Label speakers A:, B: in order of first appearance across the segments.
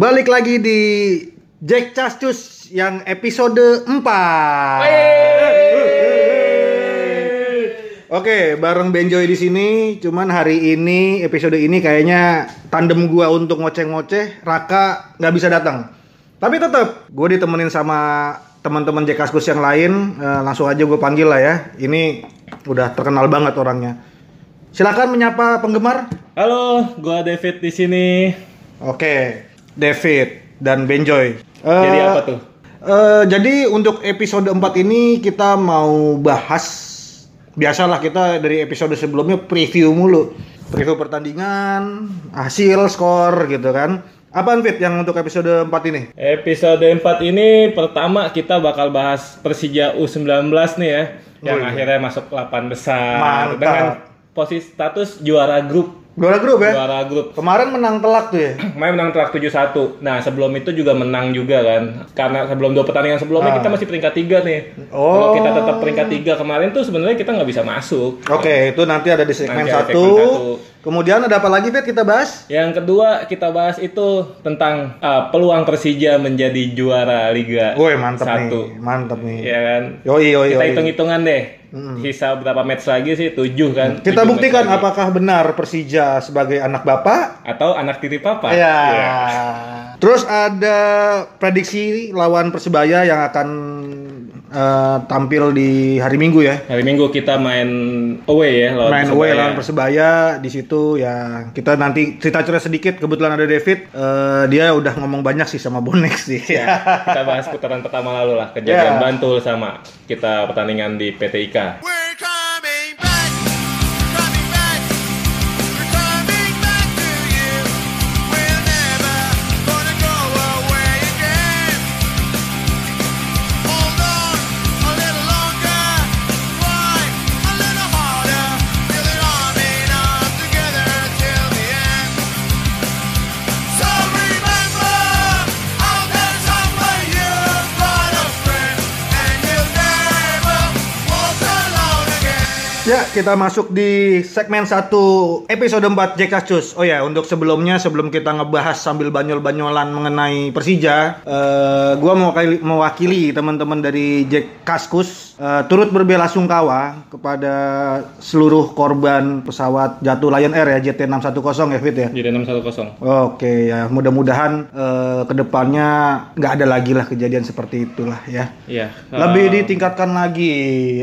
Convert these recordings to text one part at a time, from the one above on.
A: Balik lagi di Jack Cascus yang episode 4. Oke, bareng Benjoy di sini. Cuman hari ini episode ini kayaknya tandem gua untuk ngoceh-ngoceh, Raka nggak bisa datang. Tapi tetap gua ditemenin sama teman-teman Jack Cascus yang lain. Eh, langsung aja gua panggil lah ya. Ini udah terkenal banget orangnya. Silakan menyapa penggemar.
B: Halo, gua David di sini.
A: Oke, David dan Benjoy.
B: Jadi
A: Eh,
B: apa tuh?
A: eh, jadi untuk episode 4 ini kita mau bahas biasalah kita dari episode sebelumnya preview mulu. Preview pertandingan, hasil, skor gitu kan. Apaan Fit yang untuk episode 4 ini?
B: Episode 4 ini pertama kita bakal bahas Persija U19 nih ya, yang akhirnya masuk 8 besar
A: Mantap.
B: dengan posisi status juara grup.
A: Juara grup ya?
B: Juara grup.
A: Kemarin menang telak tuh ya.
B: Main menang telak 7-1. Nah, sebelum itu juga menang juga kan. Karena sebelum dua pertandingan sebelumnya kita masih peringkat 3 nih.
A: Ah. Oh.
B: Kalau kita tetap peringkat 3 kemarin tuh sebenarnya kita nggak bisa masuk.
A: Oke, itu nanti ada di segmen
B: Nanti ada
A: 1.
B: segmen satu.
A: Kemudian ada apa lagi Fit kita bahas?
B: Yang kedua kita bahas itu tentang uh, peluang Persija menjadi juara Liga
A: Woi, mantep
B: Eh, Satu.
A: nih. Mantep nih.
B: Ya kan?
A: Yoi, yoi,
B: Kita
A: yoi.
B: hitung-hitungan deh. Sisa berapa match lagi sih? 7 kan.
A: Kita
B: Tujuh
A: buktikan
B: match lagi.
A: apakah benar Persija sebagai anak bapak
B: atau anak tiri papa.
A: Iya.
B: Iya.
A: Terus ada prediksi lawan Persebaya yang akan eh, tampil di hari Minggu ya.
B: Hari Minggu kita main away ya lawan
A: Main
B: Persebaya.
A: away lawan Persebaya di situ ya kita nanti cerita cerita sedikit kebetulan ada David eh, dia udah ngomong banyak sih sama bonek sih.
B: Ya, kita bahas putaran pertama lalu lah kejadian
A: Ya.
B: Bantul sama kita pertandingan di PT IKA.
C: We're coming back, coming back, we're coming back to you. We're never gonna go away again. Hold on a little longer, why a little harder? Feel it arming up together till the end. So remember all the time when you brought a friend, and you'll never walk alone again.
A: Ya, kita masuk di segmen 1 episode 4 Jack Cus. Oh ya, untuk sebelumnya sebelum kita ngebahas sambil banyol-banyolan mengenai Persija, eh gua mau kali- mewakili teman-teman dari Jack Kaskus eh, turut berbelasungkawa kepada seluruh korban pesawat jatuh Lion Air ya JT610 ya Fit ya.
B: Jadi 610.
A: Oke ya, mudah-mudahan eh, kedepannya nggak ada lagi lah kejadian seperti itulah ya.
B: Iya.
A: Lebih
B: Eh,
A: ditingkatkan lagi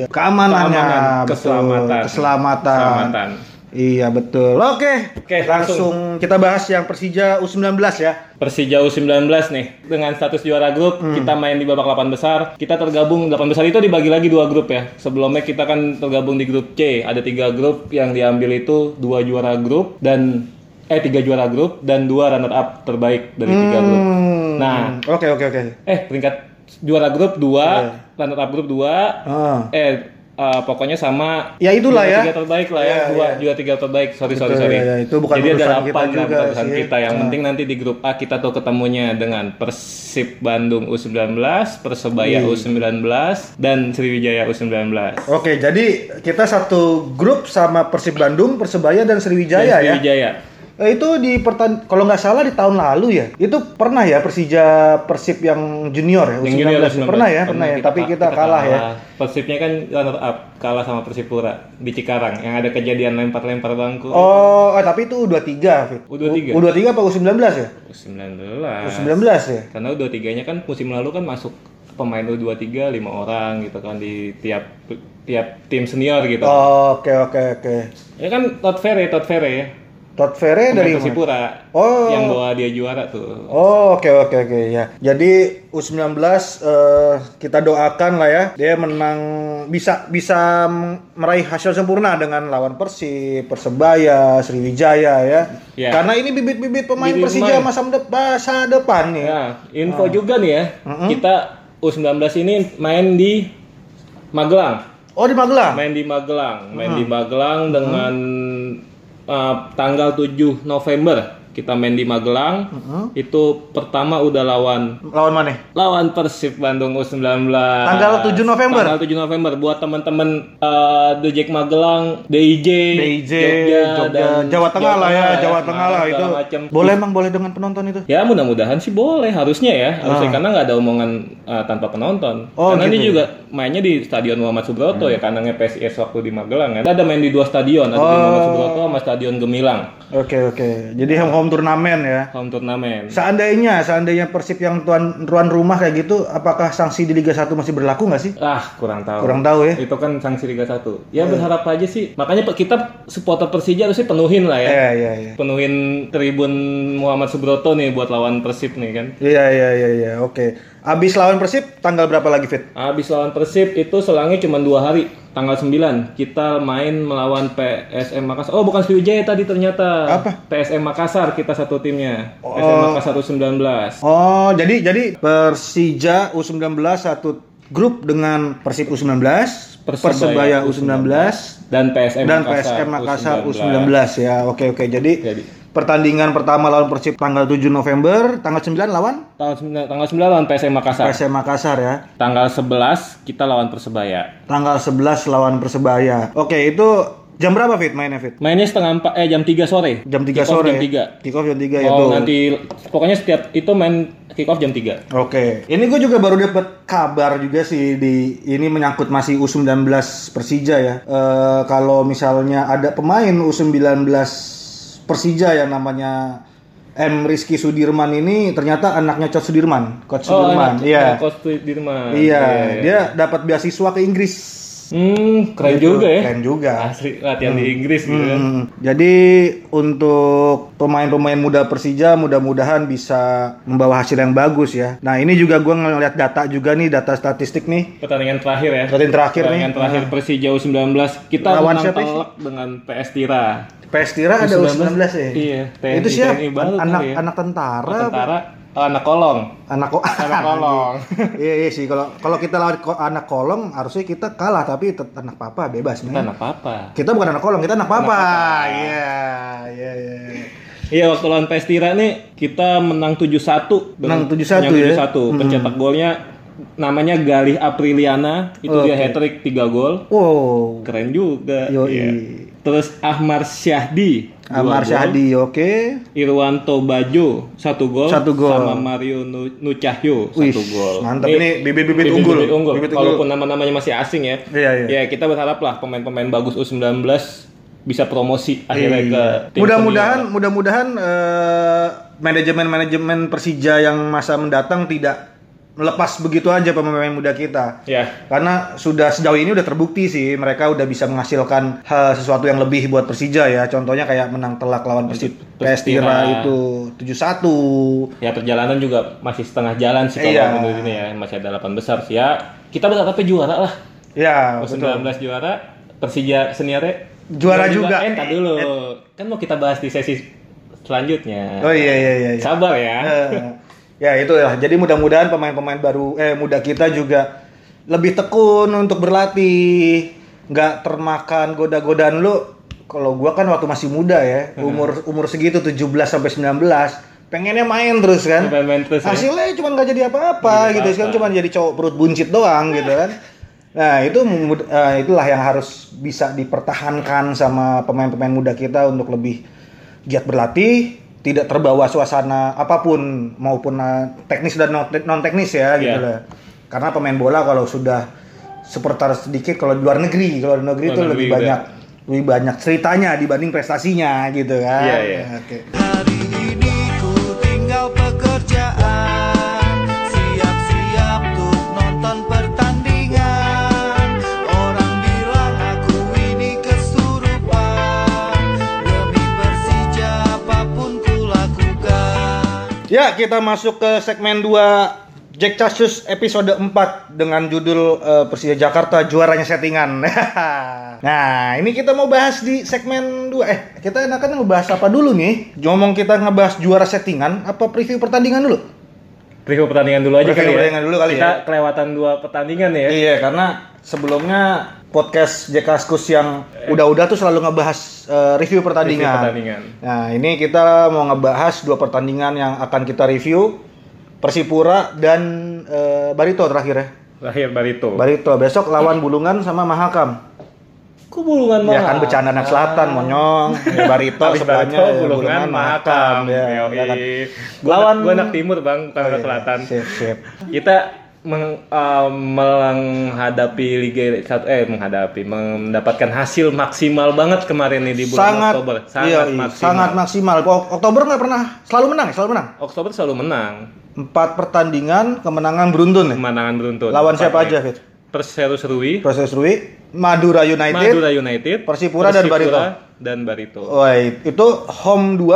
A: keamanannya,
B: Keamanan,
A: betul.
B: keselamatan.
A: keselamatan.
B: Keselamatan.
A: Iya betul. Oke.
B: Oke,
A: langsung kita bahas yang Persija U19 ya.
B: Persija U19 nih dengan status juara grup kita main di babak 8 besar kita tergabung 8 besar itu dibagi lagi dua grup ya sebelumnya kita kan tergabung di grup C ada tiga grup yang diambil itu dua juara grup dan eh tiga juara grup dan dua runner up terbaik dari tiga grup
A: Hmm.
B: nah
A: Oke oke oke.
B: eh peringkat juara grup dua runner up grup dua
A: Ah.
B: eh eh, pokoknya sama
A: Ya, itulah
B: juara
A: ya.
B: tiga terbaik lah ya
A: Ya,
B: dua
A: ya.
B: juara tiga terbaik sorry sorry
A: Betul,
B: sorry
A: ya, ya. Itu bukan
B: jadi ada
A: urusan kita
B: delapan
A: juga
B: juga urusan
A: sih. Iya.
B: kita yang penting nanti di grup A kita tuh ketemunya dengan Persib Bandung U19
A: Iya.
B: Persebaya U19 dan Sriwijaya U19
A: Oke, jadi kita satu grup sama Persib Bandung, Persebaya dan
B: Dan
A: Sriwijaya ya.
B: Sriwijaya
A: Eh, itu di pertan kalau nggak salah di tahun lalu ya. Itu pernah ya Persija Persib yang junior ya, U19.
B: Yang junior
A: Pernah ya, pernah ya. Tapi kita, kalah, ya.
B: Persibnya kan runner up kalah sama Persipura di Cikarang yang ada kejadian lempar-lempar bangku
A: Oh, eh, tapi itu U23, Fit.
B: U23.
A: U23 apa U19 ya?
B: U19
A: U19 ya?
B: Karena U23-nya kan musim lalu kan masuk pemain U23 lima orang gitu kan di tiap tiap tim senior gitu.
A: Oh. Oke, oke, oke.
B: Ya kan Todd Ferre, Todd Ferre ya.
A: Todd Ferre
B: Pemain
A: dari mana?
B: Persipura
A: Oh.
B: yang bawa dia juara tuh.
A: Oh, oke, oke, oke, ya. Jadi U19 eh, kita doakan lah ya. Dia menang bisa bisa meraih hasil sempurna dengan lawan Persib, Persebaya, Sriwijaya ya.
B: Ya.
A: Karena ini bibit-bibit pemain
B: Bibit
A: Persija
B: pemain.
A: masa, mede- masa depan nih.
B: Nah,
A: Ah.
B: info juga nih ya. Kita U19 ini main di Magelang.
A: Oh, di Magelang.
B: Main di Magelang, main di Magelang dengan uh, tanggal 7 November kita main di Magelang. Itu pertama udah lawan
A: Lawan mana?
B: lawan Persib Bandung U19.
A: Tanggal 7 November?
B: Tanggal 7 November buat teman-teman eh, The Jack Magelang, DIJ,
A: DIJ, Jogja,
B: dan
A: Jawa Tengah lah ya, Jawa Tengah lah
B: Semarang,
A: itu.
B: segala macem.
A: Boleh emang boleh dengan penonton itu?
B: Ya mudah-mudahan sih boleh harusnya ya harusnya karena nggak ada omongan eh, tanpa penonton
A: Ah. Oh,
B: karena ini
A: gitu ya. Hmm.
B: juga mainnya di Stadion Muhammad Subroto ya kandangnya PSIS waktu di Magelang kan ada main di dua stadion ada
A: Oh.
B: di Muhammad Subroto sama Stadion Gemilang
A: Oke oke. Jadi home home turnamen ya.
B: home turnamen
A: Seandainya, seandainya Persib yang tuan tuan rumah kayak gitu, apakah sanksi di Liga 1 masih berlaku nggak sih?
B: ah kurang tahu
A: Kurang tahu ya.
B: itu kan sanksi Liga 1
A: Iya.
B: ya berharap aja sih makanya pe- kita supporter Persija harusnya penuhin lah ya
A: Iya iya iya.
B: penuhin tribun Muhammad Subroto nih buat lawan Persib nih kan
A: Iya iya iya iya. Oke. Abis lawan Persib tanggal berapa lagi Fit?
B: Abis lawan Persib itu selangnya cuma dua hari. Tanggal 9 kita main melawan PSM Makassar. Oh bukan Sriwijaya tadi ternyata.
A: Apa?
B: PSM Makassar kita satu timnya. PSM Makassar 19.
A: Oh, jadi jadi Persija U19 satu grup dengan Persib U19, Persebaya,
B: Persebaya
A: U19,
B: Dan PSM
A: dan
B: Makassar
A: PSM Makassar U19.
B: U19.
A: ya. Oke oke. Jadi,
B: Jadi.
A: pertandingan pertama lawan Persib tanggal 7 November, tanggal 9 lawan
B: Tanggal 9, tanggal 9 lawan PSM Makassar.
A: PSM Makassar ya.
B: Tanggal 11 kita lawan Persebaya.
A: Tanggal 11 lawan Persebaya. Oke, itu jam berapa Fit mainnya Fit?
B: Mainnya setengah 4, eh jam 3 sore.
A: Jam 3
B: Kick-off
A: sore. ya?
B: Jam 3.
A: Kick off jam 3 ya
B: Oh
A: tuh.
B: nanti pokoknya setiap itu main kick off jam 3.
A: Oke, ini gue juga baru dapat kabar juga sih di ini menyangkut masih U19 Persija ya. Eh, kalau misalnya ada pemain U19 Persija yang namanya M Rizky Sudirman ini ternyata anaknya Coach Sudirman, Coach Sudirman.
B: Oh, anak-
A: Iya.
B: anak Coach Sudirman.
A: Iya, dia dapat beasiswa ke Inggris.
B: Hmm, keren
A: Gitu,
B: juga ya.
A: Keren juga.
B: Asli latihan di Inggris gitu kan.
A: Hmm, Jadi untuk pemain-pemain muda Persija mudah-mudahan bisa membawa hasil yang bagus ya. Nah ini juga gue ngeliat data juga nih data statistik nih.
B: Pertandingan terakhir ya.
A: Pertandingan terakhir
B: Pertandingan
A: nih. Ah.
B: terakhir Persija U19 kita
A: Lawan
B: menang
A: siapa sih?
B: telak dengan PS Tira.
A: PS Tira ada U19
B: U19,
A: ya.
B: iya, TNI,
A: Itu siapa?
B: TNI baru
A: anak
B: kali ya.
A: anak tentara. apa?
B: Tentara oh, anak kolong.
A: Anak kok
B: Anak kolong.
A: iya iya sih kalau kalau kita lawan ko- anak kolong harusnya kita kalah tapi tet- anak papa bebas
B: Kita
A: nih.
B: anak apa?
A: Kita bukan anak kolong, kita anak papa. Iya, iya iya.
B: Iya waktu lawan PS Tira nih kita menang 7-1.
A: Menang
B: Dengan-
A: 7-1
B: menang
A: ya?
B: 7-1. Pencetak golnya namanya Galih Apriliana, itu dia hat trick 3 gol.
A: Wow.
B: Keren juga.
A: Yoi.
B: Iya. Terus Ahmar Syahdi dua
A: Amar
B: gol.
A: Syahdi, oke.
B: Irwanto Bajo satu gol,
A: Satu gol.
B: sama Mario Nu- Nucahyo
A: Wih,
B: satu gol. Eh,
A: mantap. Ini bibit-bibit unggul. Bibit unggul.
B: Walaupun nama-namanya masih asing ya.
A: Iya, iya.
B: Ya kita berharap lah pemain-pemain bagus U19 bisa promosi akhirnya
A: Iya.
B: ke tim
A: Mudah-mudahan mudah-mudahan eh, manajemen-manajemen Persija yang masa mendatang tidak melepas begitu aja pemain-pemain muda kita.
B: senior. Ya.
A: Karena sudah sejauh ini udah terbukti sih mereka udah bisa menghasilkan eh, sesuatu yang lebih buat Persija ya. Contohnya kayak menang telak lawan Persib PS Tira
B: Tira.
A: itu 7-1.
B: Ya perjalanan juga masih setengah jalan sih kalau
A: Iya.
B: menurut ini ya masih ada 8 besar sih ya. Kita berharapnya juara lah.
A: Ya, betul.
B: U19 juara, Persija seniornya
A: Juara juga.
B: Eh, entar dulu. Kan mau kita bahas di sesi selanjutnya.
A: Oh iya iya iya. iya.
B: Sabar ya.
A: Eh, ya itulah. Jadi mudah-mudahan pemain-pemain baru eh muda kita juga lebih tekun untuk berlatih, nggak termakan goda-godaan lu. Kalau gua kan waktu masih muda ya, umur umur segitu 17 sampai 19, pengennya main terus kan.
B: Main-main terus ya.
A: Hasilnya cuma nggak jadi
B: Iya,
A: apa-apa gitu kan, cuma jadi cowok perut buncit doang gitu kan. Nah, itu mud- eh, itulah yang harus bisa dipertahankan sama pemain-pemain muda kita untuk lebih giat berlatih, tidak terbawa suasana apapun maupun eh, teknis dan non teknis ya gitu lah.
B: Iya.
A: Karena pemain bola kalau sudah sepertar sedikit kalau di luar negeri, kalau di luar negeri
B: Luar
A: itu
B: negeri
A: lebih
B: udah.
A: banyak lebih banyak ceritanya dibanding prestasinya gitu kan.
B: Iya, iya.
A: Oke.
C: Hari ini ku tinggal pekerjaan Siap-siap tuh nonton pertandingan Orang bilang aku ini kesurupan Demi Persija apapun ku lakukan
A: Ya, kita masuk ke segmen 2 Jack Casus episode 4 dengan judul eh, Persija Jakarta juaranya settingan. nah, ini kita mau bahas di segmen 2. Eh, kita enakan ngebahas apa dulu nih? Ngomong kita ngebahas juara settingan apa preview pertandingan dulu?
B: review pertandingan dulu aja
A: Review
B: kali ya.
A: pertandingan dulu kali
B: Kita
A: ya.
B: kelewatan dua pertandingan ya.
A: Iya, karena sebelumnya podcast Jack Kaskus yang udah-udah tuh selalu ngebahas eh, review pertandingan.
B: Review pertandingan.
A: Nah, ini kita mau ngebahas dua pertandingan yang akan kita review. Persipura dan eh, Barito terakhir ya.
B: Lahir Barito.
A: Barito besok lawan Bulungan sama Mahakam.
B: Kok bulungan
A: Ya
B: malah?
A: kan bercanda anak selatan monyong. Ya, Barito
B: Habis
A: sebelahnya
B: Barito, bulungan, mahakam.
A: Ya,
B: Yoi.
A: ya kan?
B: Gua,
A: Lawan-
B: gua anak timur bang, bukan anak
A: Iya,
B: selatan.
A: Sip, sip.
B: Kita meng- eh, menghadapi Liga 1 eh menghadapi mendapatkan hasil maksimal banget kemarin nih di bulan
A: sangat
B: Oktober.
A: sangat maksimal. sangat maksimal. Ok- Oktober nggak pernah selalu menang, ya? selalu menang.
B: Oktober selalu menang.
A: Empat pertandingan kemenangan beruntun ya.
B: Kemenangan beruntun.
A: Lawan siapa
B: Empat,
A: aja,
B: nih.
A: Fit?
B: Perseru Serui,
A: Proses Rui, Madura United.
B: Madura United,
A: Persipura dan Barito.
B: dan Barito.
A: Wait, itu home 2,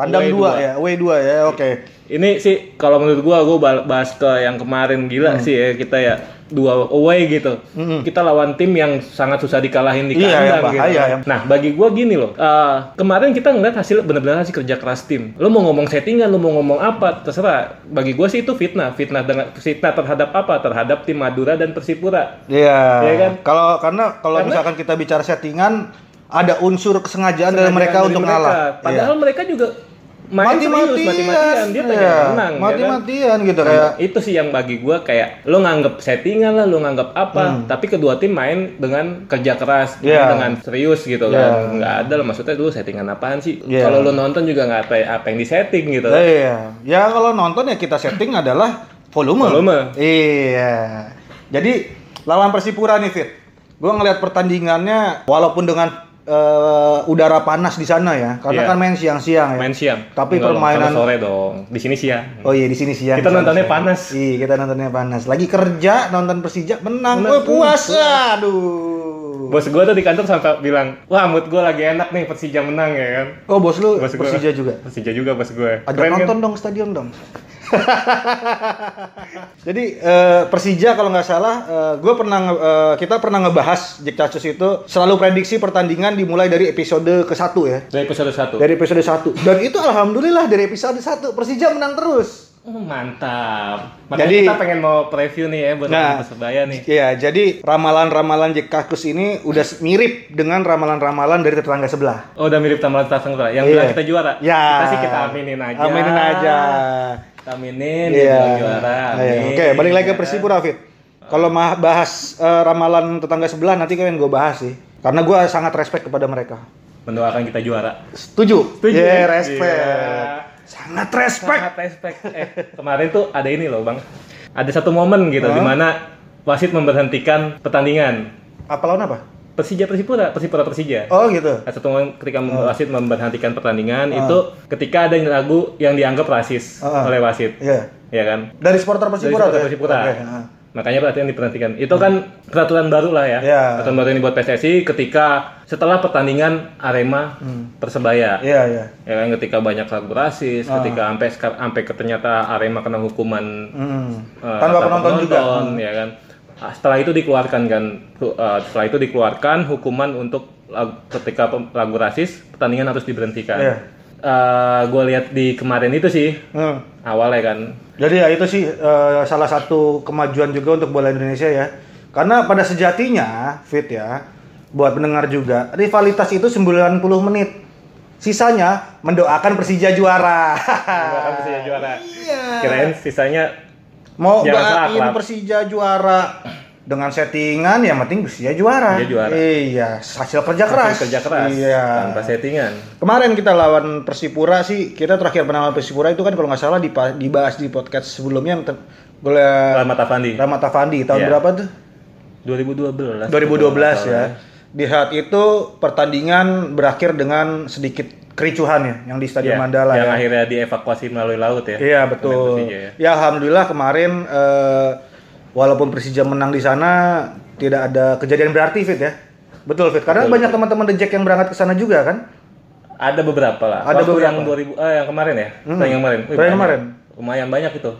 A: tandang 2
B: Away dua.
A: ya,
B: Iya.
A: away 2 ya. Oke.
B: Ini sih kalau menurut gua gua bal- bahas ke yang kemarin
A: Hmm.
B: gila sih ya kita ya dua away gitu. Kita lawan tim yang sangat susah dikalahin di
A: Iya, yang
B: kandang gitu.
A: bahaya, yang-
B: Nah, bagi gua gini loh. eh, kemarin kita ngeliat hasil bener-bener hasil kerja keras tim. Lo mau ngomong settingan, lo mau ngomong apa, terserah. Bagi gua sih itu fitnah, fitnah dengan fitnah terhadap apa? Terhadap tim Madura dan Persipura.
A: Iya.
B: Iya kan?
A: Kalau karena kalau
B: Karena-
A: misalkan kita bicara settingan ada unsur kesengajaan dari
B: Sengaja
A: mereka
B: dari
A: untuk
B: mereka.
A: ngalah. Iya.
B: Padahal mereka juga main serius, mati-matian dia pengen
A: Iya,
B: menang ya kan?
A: Mati-matian gitu
B: Nah,
A: kayak
B: itu sih yang bagi gua kayak lo nganggep settingan lah lo nganggep apa tapi kedua tim main dengan kerja keras main
A: Hmm. Iya.
B: dengan serius gitu
A: Iya.
B: kan nggak ada lah maksudnya dulu settingan apaan sih
A: Iya.
B: kalau lo nonton juga nggak apa apa yang disetting gitu
A: Iya, Iya. Ya kalau nonton ya kita setting adalah volume.
B: Volume.
A: Iya. Jadi lawan Persipura nih Fit. Gue ngelihat pertandingannya walaupun dengan eh, udara panas di sana ya, karena
B: Iya.
A: kan main siang-siang ya.
B: main siang
A: Tapi
B: Nggak dong,
A: permainan-
B: sore dong di sini siang
A: Oh iya di sini siang. di
B: Kita
A: sana
B: nontonnya
A: siang.
B: panas.
A: Iya kita nontonnya panas. Lagi kerja nonton Persija menang.
B: Menang.
A: Gue puasa. Aduh.
B: bos gua tuh di kantor sampai bilang wah mood gua lagi enak nih Persija menang ya kan
A: Oh bos lu
B: Bos gua-
A: Persija juga.
B: Persija juga bos kan? gue
A: Ada nonton dong stadion dong. Jadi eh, Persija kalau nggak salah, gue pernah nge- eh, kita pernah ngebahas Jack Casus itu selalu prediksi pertandingan dimulai dari episode ke 1 ya.
B: dari episode satu
A: Dari episode 1. Dan itu alhamdulillah dari episode 1 Persija menang terus.
B: Oh, mantap. Makanya
A: Jadi-
B: kita pengen mau preview nih ya buat
A: Nah.
B: nah, Persebaya nih.
A: Iya, jadi ramalan-ramalan Jack Casus ini udah s- mirip dengan ramalan-ramalan dari tetangga sebelah.
B: Oh, udah mirip Taman Tasang Yang
A: Iya.
B: bilang kita juara.
A: Ya.
B: Kita sih kita aminin aja.
A: Aminin aja.
B: Kita aminin dia
A: Iya.
B: bilang juara.
A: Iya.
B: Amin.
A: Oke, balik lagi ke
B: Ya.
A: Persipura, Fit. Kalau mah bahas eh, ramalan tetangga sebelah nanti kalian gue bahas sih. Karena gue sangat respect kepada mereka.
B: Mendoakan kita juara.
A: Setuju?
B: Setuju.
A: Yeay, respect.
B: Iya.
A: Sangat respect.
B: Sangat respect. Eh, kemarin tuh ada ini loh, Bang. Ada satu momen gitu di mana wasit memberhentikan pertandingan
A: Apa lawan apa?
B: Persija Persipura, Persipura Persija.
A: Oh gitu.
B: Nah, satu momen ketika wasit memberhentikan pertandingan
A: Oh.
B: itu ketika ada lagu yang dianggap rasis
A: Ah.
B: oleh wasit,
A: Iya.
B: ya kan?
A: Dari supporter
B: Dari
A: Persipura.
B: supporter
A: tuh ya?
B: Persipura.
A: Oke, heeh.
B: ah. Makanya perhatian diperhentikan. Itu kan peraturan baru lah ya.
A: Iya.
B: Peraturan baru yang dibuat PSSI ketika setelah pertandingan Arema Persebaya.
A: Iya, iya.
B: Hmm. Ya Ah. kan ketika banyak lagu rasis, ketika sampai sekar- sampai ke- ternyata Arema kena hukuman
A: Hmm.
B: eh,
A: Tanpa penonton juga.
B: ya kan. Ah, Setelah itu dikeluarkan kan Ru- eh, setelah itu dikeluarkan hukuman untuk lagu- ketika pem- lagu rasis pertandingan harus diberhentikan.
A: Iya.
B: gue lihat di kemarin itu sih
A: Hmm.
B: awalnya kan
A: Jadi ya itu sih eh, salah satu kemajuan juga untuk bola Indonesia ya. Karena pada sejatinya fit ya buat pendengar juga rivalitas itu 90 menit. Sisanya mendoakan Persija juara.
B: Mendoakan Persija kan juara.
A: Iya.
B: kirain sisanya
A: Mau
B: Jangan
A: doain
B: saklap.
A: Persija juara dengan settingan yang penting Persija juara.
B: Persija juara.
A: Iya, hasil kerja keras.
B: Hasil kerja keras
A: Iya.
B: tanpa settingan
A: Kemarin kita lawan Persipura sih, kita terakhir menang lawan Persipura itu kan kalau nggak salah dipa- dibahas di podcast sebelumnya yang ter- bola-
B: Rahmat Afandi
A: Rahmat Afandi tahun
B: Iya.
A: berapa tuh?
B: 2012
A: 2012 ya. Di saat itu pertandingan berakhir dengan sedikit kericuhan ya yang di Stadion
B: Iya,
A: Mandala
B: yang
A: ya.
B: akhirnya dievakuasi melalui laut ya
A: Iya
B: Pemain
A: betul.
B: Persija ya.
A: Ya alhamdulillah kemarin eh, walaupun Persija menang di sana tidak ada kejadian berarti fit ya. Betul fit. Karena banyak teman-teman The Jack yang berangkat ke sana juga kan.
B: ada beberapa lah
A: Ada
B: Waktu
A: beberapa.
B: yang 2000 eh, yang kemarin ya Pertandingan yang kemarin Wih,
A: Pertandingan
B: banyak.
A: kemarin.
B: lumayan banyak itu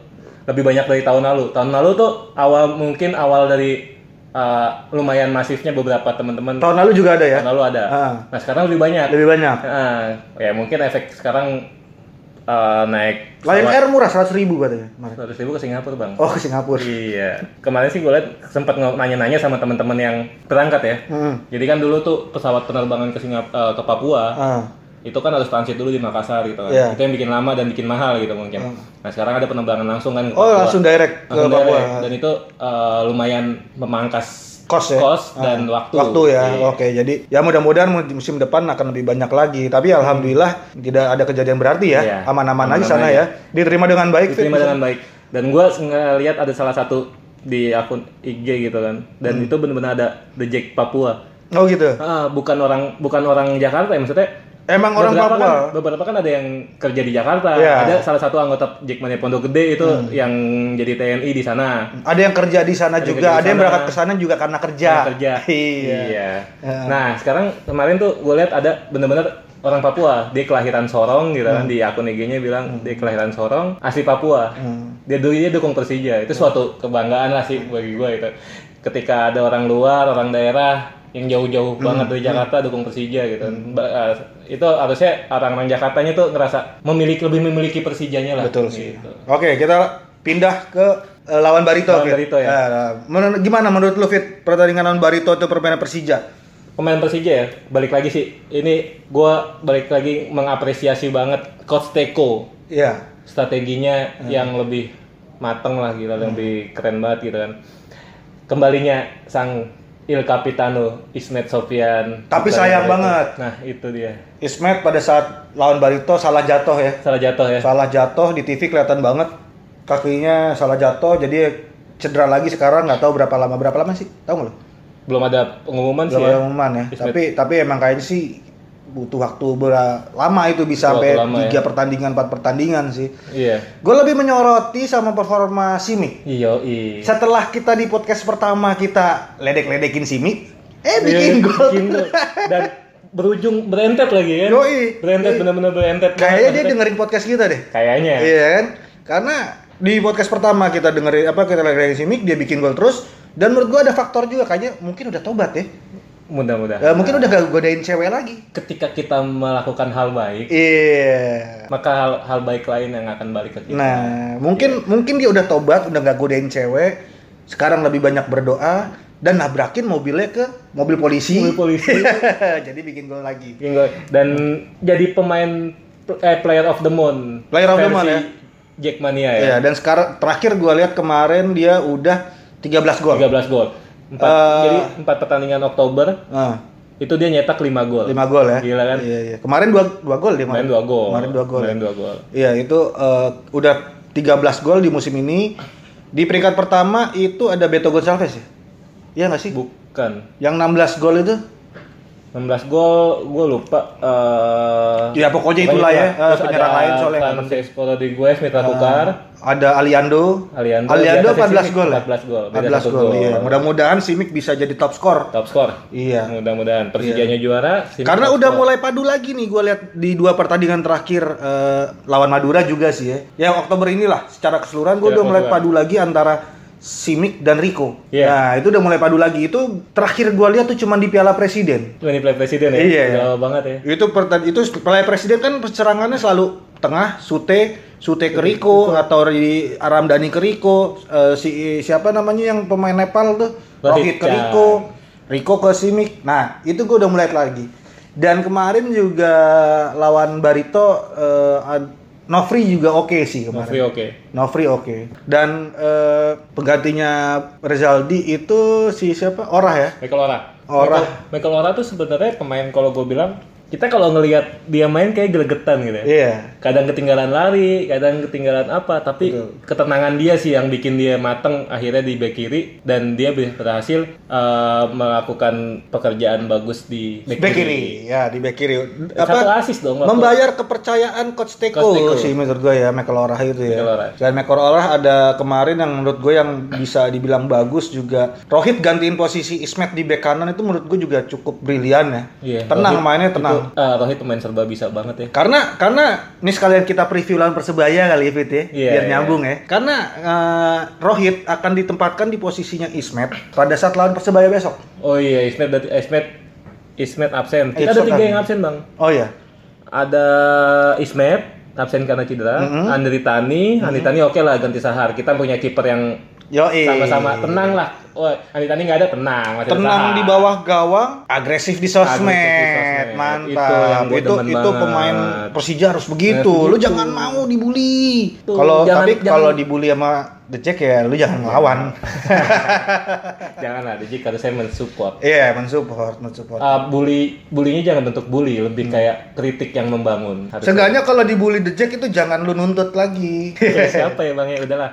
B: lebih banyak dari tahun lalu tahun lalu tuh awal mungkin awal dari eh, lumayan masifnya beberapa teman-teman
A: Tahun lalu juga ada ya.
B: tahun lalu ada
A: Ah.
B: nah sekarang lebih banyak
A: Lebih banyak.
B: Ah, ya mungkin efek sekarang eh, naik
A: Lion Air murah 100 ribu katanya kemarin.
B: seratus ribu ke Singapura bang.
A: Oh ke Singapura.
B: Iya, kemarin sih gue liat sempat nge- nanya-nanya sama teman-teman yang berangkat ya.
A: Hmm.
B: Jadi kan dulu tuh pesawat penerbangan ke Singapura ke Papua
A: Ah.
B: itu kan harus transit dulu di Makassar gitu kan.
A: Iya. Hmm.
B: Itu yang bikin lama dan bikin mahal gitu mungkin. Nah sekarang ada penerbangan langsung kan. ke
A: Oh
B: Papua.
A: langsung direct ke
B: Langsung
A: Papua.
B: direct. Dan itu eh, lumayan memangkas
A: Kos ya.
B: dan
A: Ah,
B: waktu.
A: Waktu ya.
B: Iya.
A: Oke, jadi ya mudah-mudahan mu- musim depan akan lebih banyak lagi. Tapi alhamdulillah tidak ada kejadian berarti ya.
B: Iya.
A: Aman-aman aja
B: Aman-aman
A: sana
B: aja.
A: ya. Diterima dengan baik. Fit.
B: Diterima dengan baik. Dan gue ngeliat ada salah satu di akun IG gitu kan. Dan
A: Hmm.
B: itu benar-benar ada The Jack Papua.
A: Oh gitu.
B: Ah, bukan orang bukan orang Jakarta ya maksudnya
A: Emang orang
B: beberapa
A: Papua.
B: Kan, beberapa kan ada yang kerja di Jakarta.
A: Iya. Hmm.
B: Ada salah satu anggota Jackmania Pondok Gede itu yang jadi TNI di sana.
A: Ada yang kerja di sana
B: Ada
A: juga,
B: kerja di
A: ada yang
B: sana.
A: berangkat ke sana juga karena kerja.
B: Yang kerja.
A: Iya. Iya.
B: Nah, sekarang kemarin tuh gue lihat ada bener-bener orang Papua, dia kelahiran Sorong gitu
A: Ah.
B: kan di akun IG-nya
A: Hmm.
B: bilang dia kelahiran Sorong, asli Papua. Dia dulu dia dukung Persija.
A: Hmm.
B: Itu suatu kebanggaan lah sih bagi gue itu. Ketika ada orang luar, orang daerah yang jauh-jauh
A: Hmm.
B: banget dari Jakarta dukung Persija gitu. Ba- eh, itu harusnya orang-orang Jakartanya tuh ngerasa memiliki lebih memiliki Persijanya lah.
A: Betul sih.
B: gitu.
A: Oke, kita pindah ke eh, lawan Barito.
B: Lawan
A: Fit.
B: Barito ya.
A: Eh, menur- gimana menurut lu Fit pertandingan lawan Barito itu permainan Persija?
B: Pemain Persija ya, balik lagi sih. Ini gue balik lagi mengapresiasi banget Coach Teko.
A: Iya.
B: strateginya
A: Hmm.
B: yang lebih mateng lah gitu, lebih keren banget gitu kan. Kembalinya sang Il Capitano Ismet Sofian.
A: Tapi
B: Bukan
A: sayang
B: itu.
A: banget.
B: Nah itu dia
A: Ismet pada saat lawan Barito salah jatuh ya.
B: salah jatuh ya.
A: Salah jatuh di TV kelihatan banget kakinya salah jatuh jadi cedera lagi sekarang nggak tahu berapa lama berapa lama sih tahu nggak lo?
B: Belum ada pengumuman
A: Belum
B: sih ya.
A: ada pengumuman ya.
B: Ismet.
A: Tapi tapi emang kayaknya sih butuh waktu berapa lama itu bisa
B: Butuh
A: sampai
B: waktu lama ya.
A: tiga pertandingan empat pertandingan sih.
B: Iya.
A: Gue lebih menyoroti sama performa Simi.
B: Iyo Iya.
A: Setelah kita di podcast pertama kita ledek-ledekin Simi, eh
B: Iya,
A: bikin gol.
B: Dan berujung berentet lagi ya.
A: Yoi.
B: Berentet
A: Yoi.
B: bener-bener berentet.
A: Kayaknya dia
B: Berentet.
A: dengerin podcast kita deh.
B: Kayaknya.
A: Iya kan? Karena di podcast pertama kita dengerin apa kita dengerin Simic dia bikin gol terus dan menurut gua ada faktor juga kayaknya mungkin udah tobat ya.
B: Mudah-mudahan.
A: Eh, mungkin udah gak godain cewek lagi.
B: Ketika kita melakukan hal baik,
A: Iya.
B: maka hal, hal baik lain yang akan balik ke kita.
A: Nah, mungkin mungkin dia udah tobat, udah gak godain cewek. Sekarang lebih banyak berdoa dan nabrakin mobilnya ke mobil polisi.
B: Mobil polisi.
A: Jadi bikin gol lagi.
B: Gingo- dan jadi pemain eh, player of the month.
A: Player of the month, ya.
B: Jackmania ya.
A: Iya, dan sekarang terakhir gua lihat kemarin dia udah 13 gol.
B: 13 gol. Empat,
A: Eh.
B: jadi 4 pertandingan Oktober
A: Nah.
B: itu dia nyetak 5 gol.
A: 5 gol ya.
B: Gila kan?
A: Iya, iya. Kemarin 2 2 gol dia
B: Main 2 gol.
A: Kemarin 2 gol.
B: Main 2 gol.
A: Iya, itu eh, udah 13 gol di musim ini. Di peringkat pertama itu ada Beto Gonçalves ya. Iya nggak sih?
B: Bukan.
A: Yang 16 gol itu?
B: 16 gol, gue lupa. eh,
A: Ya, pokoknya itulah ya, eh,
B: Terus
A: penyerang
B: ada
A: lain soalnya Ah. yang
B: Francesco Rodriguez, Mitra Kukar.
A: Ada Aliando.
B: Aliando,
A: Aliando
B: di atas
A: 14
B: Simic,
A: gol. ya?
B: 14 gol. Beda
A: 14
B: satu
A: gol.
B: gol.
A: Iya. Mudah-mudahan Simic bisa jadi top skor.
B: top skor.
A: Iya.
B: Mudah-mudahan Persijanya juara. Simic
A: Karena
B: top
A: udah
B: score.
A: mulai padu lagi nih gue lihat di dua pertandingan terakhir eh, lawan Madura juga sih ya. Ya Oktober inilah secara keseluruhan gue
B: Secara
A: udah mulai
B: keseluruhan.
A: padu lagi antara Simic dan Rico.
B: Iya.
A: Nah itu udah mulai padu lagi. Itu terakhir gue lihat tuh cuman di Piala Presiden.
B: Ini play presiden ya.
A: Iya, iya.
B: Jauh banget ya.
A: Itu pertan itu Piala Presiden kan pencerangannya selalu tengah Sute Sute ke Rico atau di Aramdani ke Rico Eh, si siapa namanya yang pemain Nepal tuh Rohit
B: Rohit
A: ke
B: Chan.
A: Rico Rico ke Simic. Nah, itu gue udah mulai lagi. Dan kemarin juga lawan Barito eh, ad- Nofri juga oke sih kemarin.
B: Nofri oke.
A: Nofri oke. Dan eh, penggantinya Rezaldi itu si siapa? Orah ya.
B: Michael Ora.
A: Ora.
B: Michael, Michael Ora tuh sebenarnya pemain kalau gue bilang kita kalau ngelihat dia main kayak gregetan gitu ya.
A: Iya.
B: Kadang ketinggalan lari, kadang ketinggalan apa, tapi ketenangan dia sih yang bikin dia mateng akhirnya di back kiri dan dia berhasil eh, melakukan pekerjaan bagus di
A: back, kiri. ya di back kiri
B: Satu asis dong waktu-
A: membayar kepercayaan coach Teko,
B: Coach Teko.
A: sih menurut gue ya McElroy itu ya
B: McElroy.
A: dan McElroy ada kemarin yang menurut gue yang bisa dibilang bagus juga Rohit gantiin posisi Ismet di back kanan itu menurut gue juga cukup brilian ya
B: Iya,
A: tenang
B: Rohit
A: mainnya tenang
B: Itu, eh, Rohit pemain serba bisa banget ya.
A: karena karena ini sekalian kita preview lawan persebaya kali ya Fit ya
B: Iya,
A: biar
B: iya.
A: nyambung ya karena eh, Rohit akan ditempatkan di posisinya Ismet pada saat lawan persebaya besok
B: Oh iya, Ismet berarti- Ismet Ismet absen. Kita
A: Ismet
B: ada tiga
A: absen.
B: iya. yang absen, Bang.
A: oh ya
B: Ada Ismet, absen karena cedera.
A: Mm-hmm.
B: Andri Tani, Andri Tani oke lah ganti Sahar. Kita punya kiper yang
A: Yo,
B: sama-sama tenang lah. Oh, Andri Tani nggak ada tenang. masih ada Sahar.
A: tenang di bawah gawang, agresif di sosmed.
B: Agresif di sosmed.
A: Mantap.
B: Itu yang
A: Itu
B: gua
A: itu,
B: demen banget.
A: pemain Persija harus begitu.
B: Harus
A: Lu
B: begitu.
A: jangan mau dibully.
B: Tuh,
A: Kalau
B: jangan-
A: tapi
B: jangan-
A: kalau dibully sama The Jack ya lu jangan melawan.
B: Janganlah, Diji kalau saya mensupport.
A: Iya, mensupport, mensupport.
B: Eh, bully, bullynya jangan bentuk bully, lebih kayak kritik yang membangun. Harus
A: Hmm. Seenggaknya kalau dibully The Jack itu jangan lu nuntut lagi.
B: Kayak siapa ya bang ya udahlah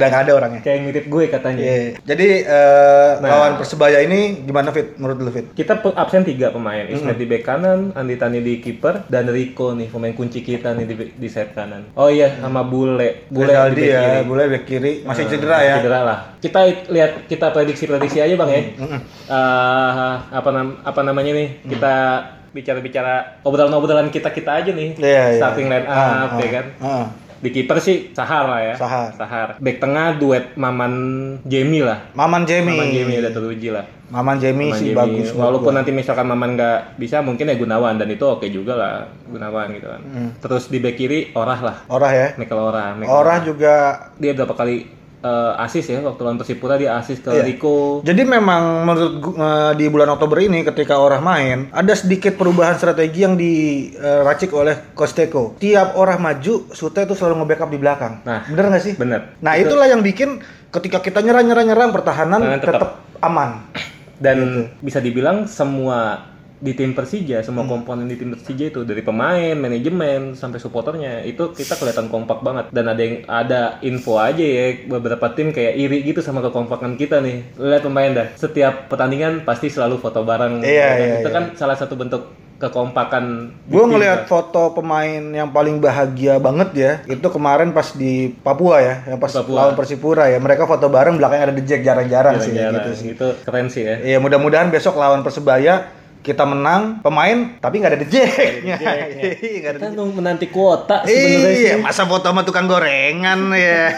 A: Udah gak ada orangnya.
B: kayak yang mirip gue katanya
A: Iya. Jadi eh,
B: Nah.
A: lawan Persebaya ini gimana Fit menurut lu Fit?
B: kita pe- absen tiga pemain Ismet di bek kanan Andi Tani di kiper dan Rico nih pemain kunci kita nih di, di set kanan oh iya sama Bule
A: Mm.
B: Bule di
A: Rizaldi
B: bek
A: ya,
B: kiri.
A: Bule bek kiri masih
B: Nah,
A: cedera ya.
B: cedera lah kita i- lihat kita prediksi prediksi aja bang ya Eh, apa nam- apa namanya nih
A: Mm.
B: kita bicara-bicara obrolan-obrolan kita kita aja nih
A: Iya, iya.
B: starting line up
A: Ah, ah,
B: ya kan
A: ah.
B: di kiper sih Sahar lah ya
A: Sahar.
B: Sahar bek tengah duet Maman Jamie lah
A: Maman Jamie.
B: Maman Jamie udah teruji lah.
A: Maman Jamie
B: Maman
A: sih
B: Jamie.
A: bagus. menurut
B: Walaupun
A: gua.
B: nanti misalkan Maman nggak bisa, mungkin ya Gunawan dan itu oke juga lah Gunawan gitu kan.
A: Hmm.
B: Terus di bek kiri Orah lah,
A: Orah ya.
B: Michael Orah. Michael
A: Orah juga.
B: Dia berapa kali eh, asis ya waktu lawan Persipura dia asis ke
A: Iya.
B: Rico.
A: Jadi memang menurut gua, eh, di bulan Oktober ini ketika Orah main ada sedikit perubahan strategi yang diracik oleh Kosteko. Tiap Orah maju, Sute itu selalu nge-backup di belakang.
B: Nah.
A: bener nggak sih?
B: Bener.
A: Nah itulah yang bikin ketika kita nyerang nyerang nyerang pertahanan
B: Pertahanan tetap.
A: tetap aman. Iya,
B: Dan bisa dibilang semua di tim Persija, semua
A: Hmm.
B: komponen di tim Persija itu dari pemain, manajemen sampai supporternya itu kita kelihatan kompak banget dan ada yang ada info aja ya beberapa tim kayak iri gitu sama kekompakan kita nih. Lu Lihat pemain dah. Setiap pertandingan pasti selalu foto bareng.
A: Iya,
B: Dan
A: iya,
B: itu
A: iya.
B: kan salah satu bentuk kekompakan di
A: Gue
B: tim,
A: ngelihat
B: kan.
A: foto pemain yang paling bahagia banget ya. Itu kemarin pas di Papua ya, yang pas
B: Papua.
A: lawan Persipura ya. Mereka foto bareng belakangnya ada The Jack jarang-jarang sih
B: Jarang-jarang.
A: gitu sih.
B: Itu keren sih
A: Iya,
B: ya.
A: mudah-mudahan besok lawan Persebaya kita menang pemain tapi nggak ada The Jack-nya. Iya, nggak ada
B: Kita nung- menanti kuota
A: The
B: sebenarnya
A: Jack.
B: sih.
A: Iya, masa foto sama tukang gorengan ya.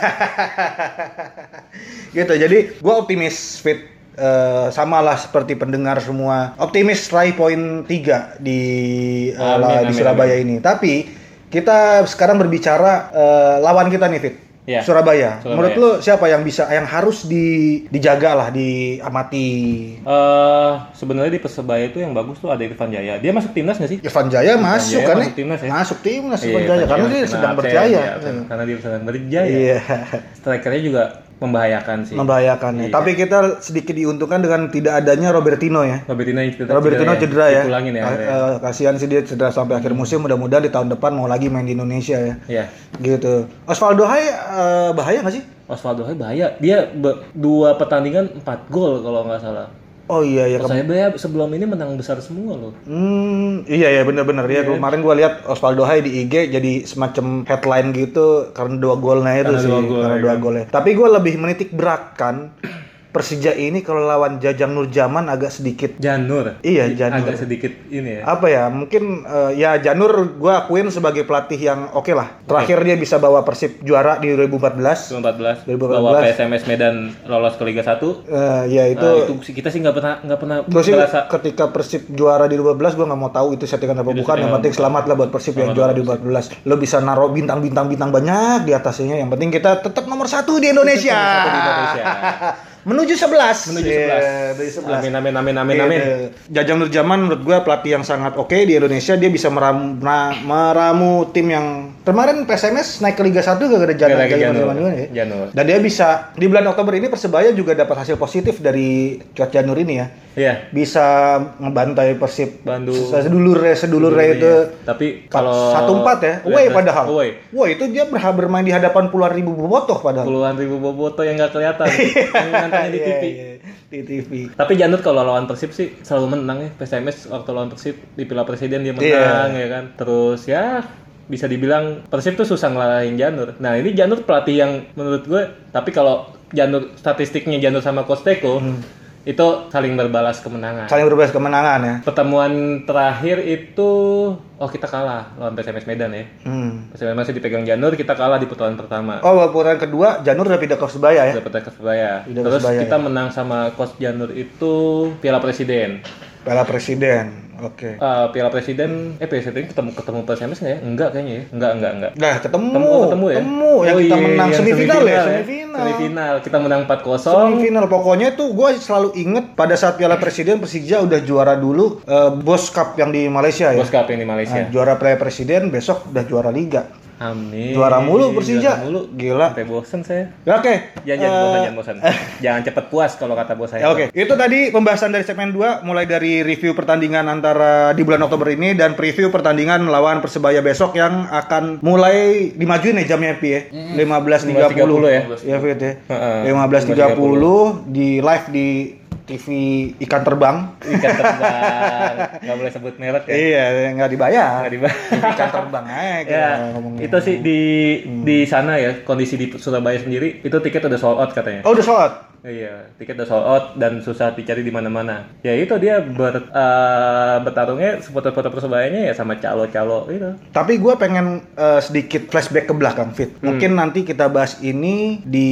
A: gitu. Jadi gue optimis fit Eh, sama lah seperti pendengar semua optimis raih poin 3 di eh,
B: Amin,
A: la- di
B: amin,
A: Surabaya ini. Tapi kita sekarang berbicara eh, lawan kita nih Fit.
B: Iya.
A: Surabaya.
B: Surabaya.
A: Menurut lu siapa yang bisa yang harus di dijaga lah diamati?
B: eh sebenarnya di Persebaya itu yang bagus tuh ada Irfan Jaya. Dia masuk timnas nggak sih?
A: Irfan Ya, Jaya masuk
B: Jaya
A: kan
B: masuk timnas ya?
A: Masuk timnas Irfan
B: Iya,
A: Jaya
B: Irfan
A: karena
B: Jaya
A: dia
B: kena
A: sedang
B: absen,
A: berjaya.
B: iya, absen. Karena dia sedang berjaya.
A: Iya.
B: Strikernya juga membahayakan sih.
A: Membahayakan ya.
B: Iya.
A: Tapi kita sedikit diuntungkan dengan tidak adanya Robertino ya.
B: Robertino yang cedera,
A: Robertino cedera ya.
B: Dipulangin ya.
A: Ah,
B: akhirnya.
A: eh, kasihan sih dia cedera sampai akhir musim. Mudah-mudahan di tahun depan mau lagi main di Indonesia ya.
B: Iya.
A: Gitu. Osvaldo Hai eh, bahaya nggak sih?
B: Osvaldo Hai bahaya. Dia be- dua pertandingan 4 gol kalau nggak salah.
A: Oh iya ya.
B: Saya bahaya sebelum ini menang besar semua loh.
A: Hmm, iya ya bener-bener ya. Kemarin gua lihat Osvaldo Hai di IG jadi semacam headline gitu karena dua golnya itu
B: Karena
A: sih,
B: dua gol,
A: karena
B: ya
A: dua
B: kan?
A: golnya. Tapi gua lebih menitik beratkan Persija ini kalau lawan Jajang Nurjaman agak sedikit
B: Janur.
A: Iya, Janur.
B: Agak sedikit ini ya.
A: apa ya mungkin eh, ya Janur gua akuin sebagai pelatih yang oke lah terakhir dia bisa bawa Persib juara di 2014
B: 2014
A: 2014.
B: bawa PSMS Medan lolos ke Liga 1.
A: Eh, ya itu,
B: Itu, itu sih kita sih nggak pernah nggak pernah
A: Gua sih
B: merasa
A: ketika Persib juara di 12 gua nggak mau tahu itu settingan apa bukan yang penting selamat lah buat Persib yang juara di 12 lo bisa naruh bintang-bintang bintang banyak di atasnya yang penting kita tetap nomor satu di Indonesia,
B: satu di Indonesia.
A: menuju 11
B: menuju
A: Iya,
B: 11.
A: menuju 11
B: Amin amin amin amin amin.
A: Gitu. Jajang Nurjaman menurut gue pelatih yang sangat oke di Indonesia dia bisa meramu, na- meramu tim yang kemarin PSMS naik ke Liga 1 gak ada Jajang
B: Gara-gara
A: Jajang
B: Janur.
A: Nurjaman ya.
B: Janur.
A: Dan dia bisa di bulan Oktober ini Persebaya juga dapat hasil positif dari Cuat Janur ini ya.
B: Iya.
A: Bisa ngebantai Persib
B: Bandung.
A: Sedulur ya, sedulur itu
B: Iya. Tapi kalau Iya, Oh,
A: satu empat ya, away padahal.
B: Away.
A: Wah itu dia berha- bermain di hadapan puluhan ribu bobotoh padahal.
B: Puluhan ribu boboto yang nggak kelihatan. yang nantangnya di
A: Iya,
B: TV.
A: iya, Di TV.
B: Tapi Janut kalau lawan Persib sih selalu menang ya. PSMS waktu lawan Persib di Piala Presiden
A: Iya.
B: dia menang ya kan. Terus ya bisa dibilang Persib tuh susah ngelahin Janur. Nah ini Janur pelatih yang menurut gue. Tapi kalau Janur statistiknya Janur sama Kosteko
A: Hmm.
B: itu saling berbalas kemenangan.
A: Saling berbahas kemenangan ya.
B: Pertemuan terakhir itu oh kita kalah lawan PSMS Medan ya.
A: Hmm.
B: PSMS masih dipegang Janur kita kalah di putaran pertama.
A: Oh, babak putaran kedua Janur udah pindah ke Persebaya ya.
B: Dapat ke Surabaya.
A: Udah ya? ke
B: Terus
A: Surabaya,
B: kita menang sama Coach Janur itu Piala Presiden.
A: Piala Presiden. Oke.
B: Eh, Piala Presiden, eh Piala Presiden ketemu ketemu PSMS nggak ya? Enggak kayaknya ya. Enggak, enggak, enggak.
A: Dah ketemu.
B: Ketemu, oh, ketemu ya?
A: Ketemu. Yang
B: Oh,
A: kita
B: iya,
A: menang
B: yang
A: semifinal, ya,
B: ya.
A: semifinal. Semifinal.
B: Semifinal. Kita menang 4-0.
A: pokoknya tuh gue selalu inget pada saat Piala Presiden Persija udah juara dulu eh, Bos Cup yang di Malaysia ya.
B: Bos Cup yang di Malaysia.
A: Nah, juara Piala Presiden besok udah juara liga.
B: Amin.
A: Juara mulu Persija.
B: Juara mulu.
A: Gila.
B: Sampai bosen saya.
A: Ya, Oke.
B: Jangan, jangan bosan,
A: Eh,
B: jangan bosan. ya, jangan cepet puas kalau kata bos saya.
A: Ya, Oke, itu tadi pembahasan dari segmen 2 mulai dari review pertandingan antara di bulan Oktober ini dan preview pertandingan melawan Persebaya besok yang akan mulai dimajuin ya jamnya Pi ya. 15.30
B: ya.
A: Iya Fit ya.
B: Heeh.
A: 15.30 di live di TV Ikan Terbang.
B: Ikan terbang. Gak boleh sebut merek ya.
A: Iya, nggak dibayar. Iya.
B: Nggak dibayar.
A: TV Ikan Terbang aja kita
B: Ya,
A: ngomongnya. Hmm.
B: itu sih di di sana ya kondisi di Surabaya sendiri itu tiket udah sold out katanya.
A: Oh, udah sholat.
B: Iya, tiket udah sold out dan susah dicari di mana-mana. Ya itu dia ber, eh, bertarungnya supporter-supporter Persebayanya ya sama calo-calo itu.
A: Tapi gue pengen eh, sedikit flashback ke belakang, Fit.
B: Hmm.
A: Mungkin nanti kita bahas ini di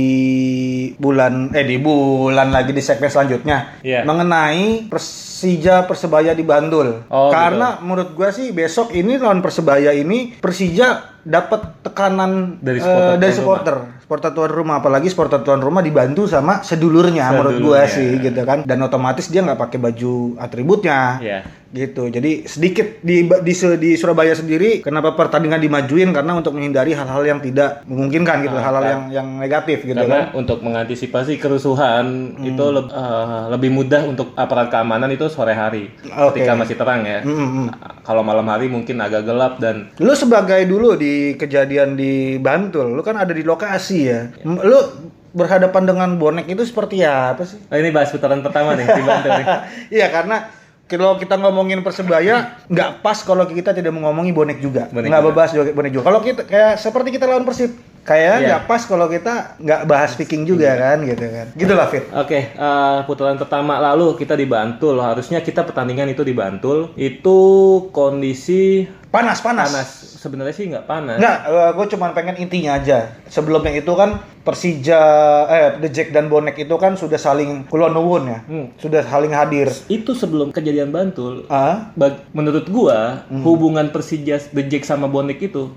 A: bulan eh di bulan lagi di segmen selanjutnya
B: Iya.
A: mengenai Persija Persebaya di Bandul.
B: Oh,
A: Karena menurut gue sih besok ini lawan Persebaya ini Persija dapat tekanan
B: Dari
A: eh,
B: supporter
A: dari
B: tuan
A: supporter. Supporter tuan rumah apalagi supporter tuan rumah dibantu sama sedulurnya, menurut gue
B: Sedulurnya.
A: sih gitu kan. Dan otomatis dia nggak pakai baju atributnya
B: Iya.
A: gitu jadi sedikit di, di di Surabaya sendiri kenapa pertandingan dimajuin karena untuk menghindari hal-hal yang tidak memungkinkan gitu hal-hal yang yang negatif gitu kan Hmm.
B: Karena untuk mengantisipasi kerusuhan itu leb- eh, lebih mudah untuk aparat keamanan itu sore hari
A: Oke.
B: ketika masih terang ya.
A: Mm, mm.
B: Kalau malam hari mungkin agak gelap dan
A: lu sebagai dulu di kejadian di Bantul lu kan ada di lokasi ya M- lu berhadapan dengan bonek itu seperti apa sih
B: Oh, ini bahas putaran pertama nih di Bantul nih.
A: iya karena kalau kita ngomongin persebaya nggak pas kalau kita tidak mengomongi bonek juga
B: Bonek
A: nggak
B: juga.
A: bahas juga bonek juga kalau kita kayak seperti kita lawan persib kayak
B: Iya.
A: nggak pas kalau kita nggak bahas viking juga kan gitu kan gitulah fit
B: Oke, eh, putaran pertama lalu kita di Bantul. Harusnya kita pertandingan itu di Bantul. Itu kondisi
A: panas panas,
B: panas. Sebenarnya sih nggak panas.
A: nggak gue cuman pengen intinya aja sebelumnya itu kan Persija eh The Jack dan Bonek itu kan sudah saling kulonuwun ya
B: Hmm.
A: sudah saling hadir
B: Itu sebelum kejadian Bantul.
A: ah
B: bag- menurut gua
A: Hmm.
B: hubungan Persija The Jack sama Bonek itu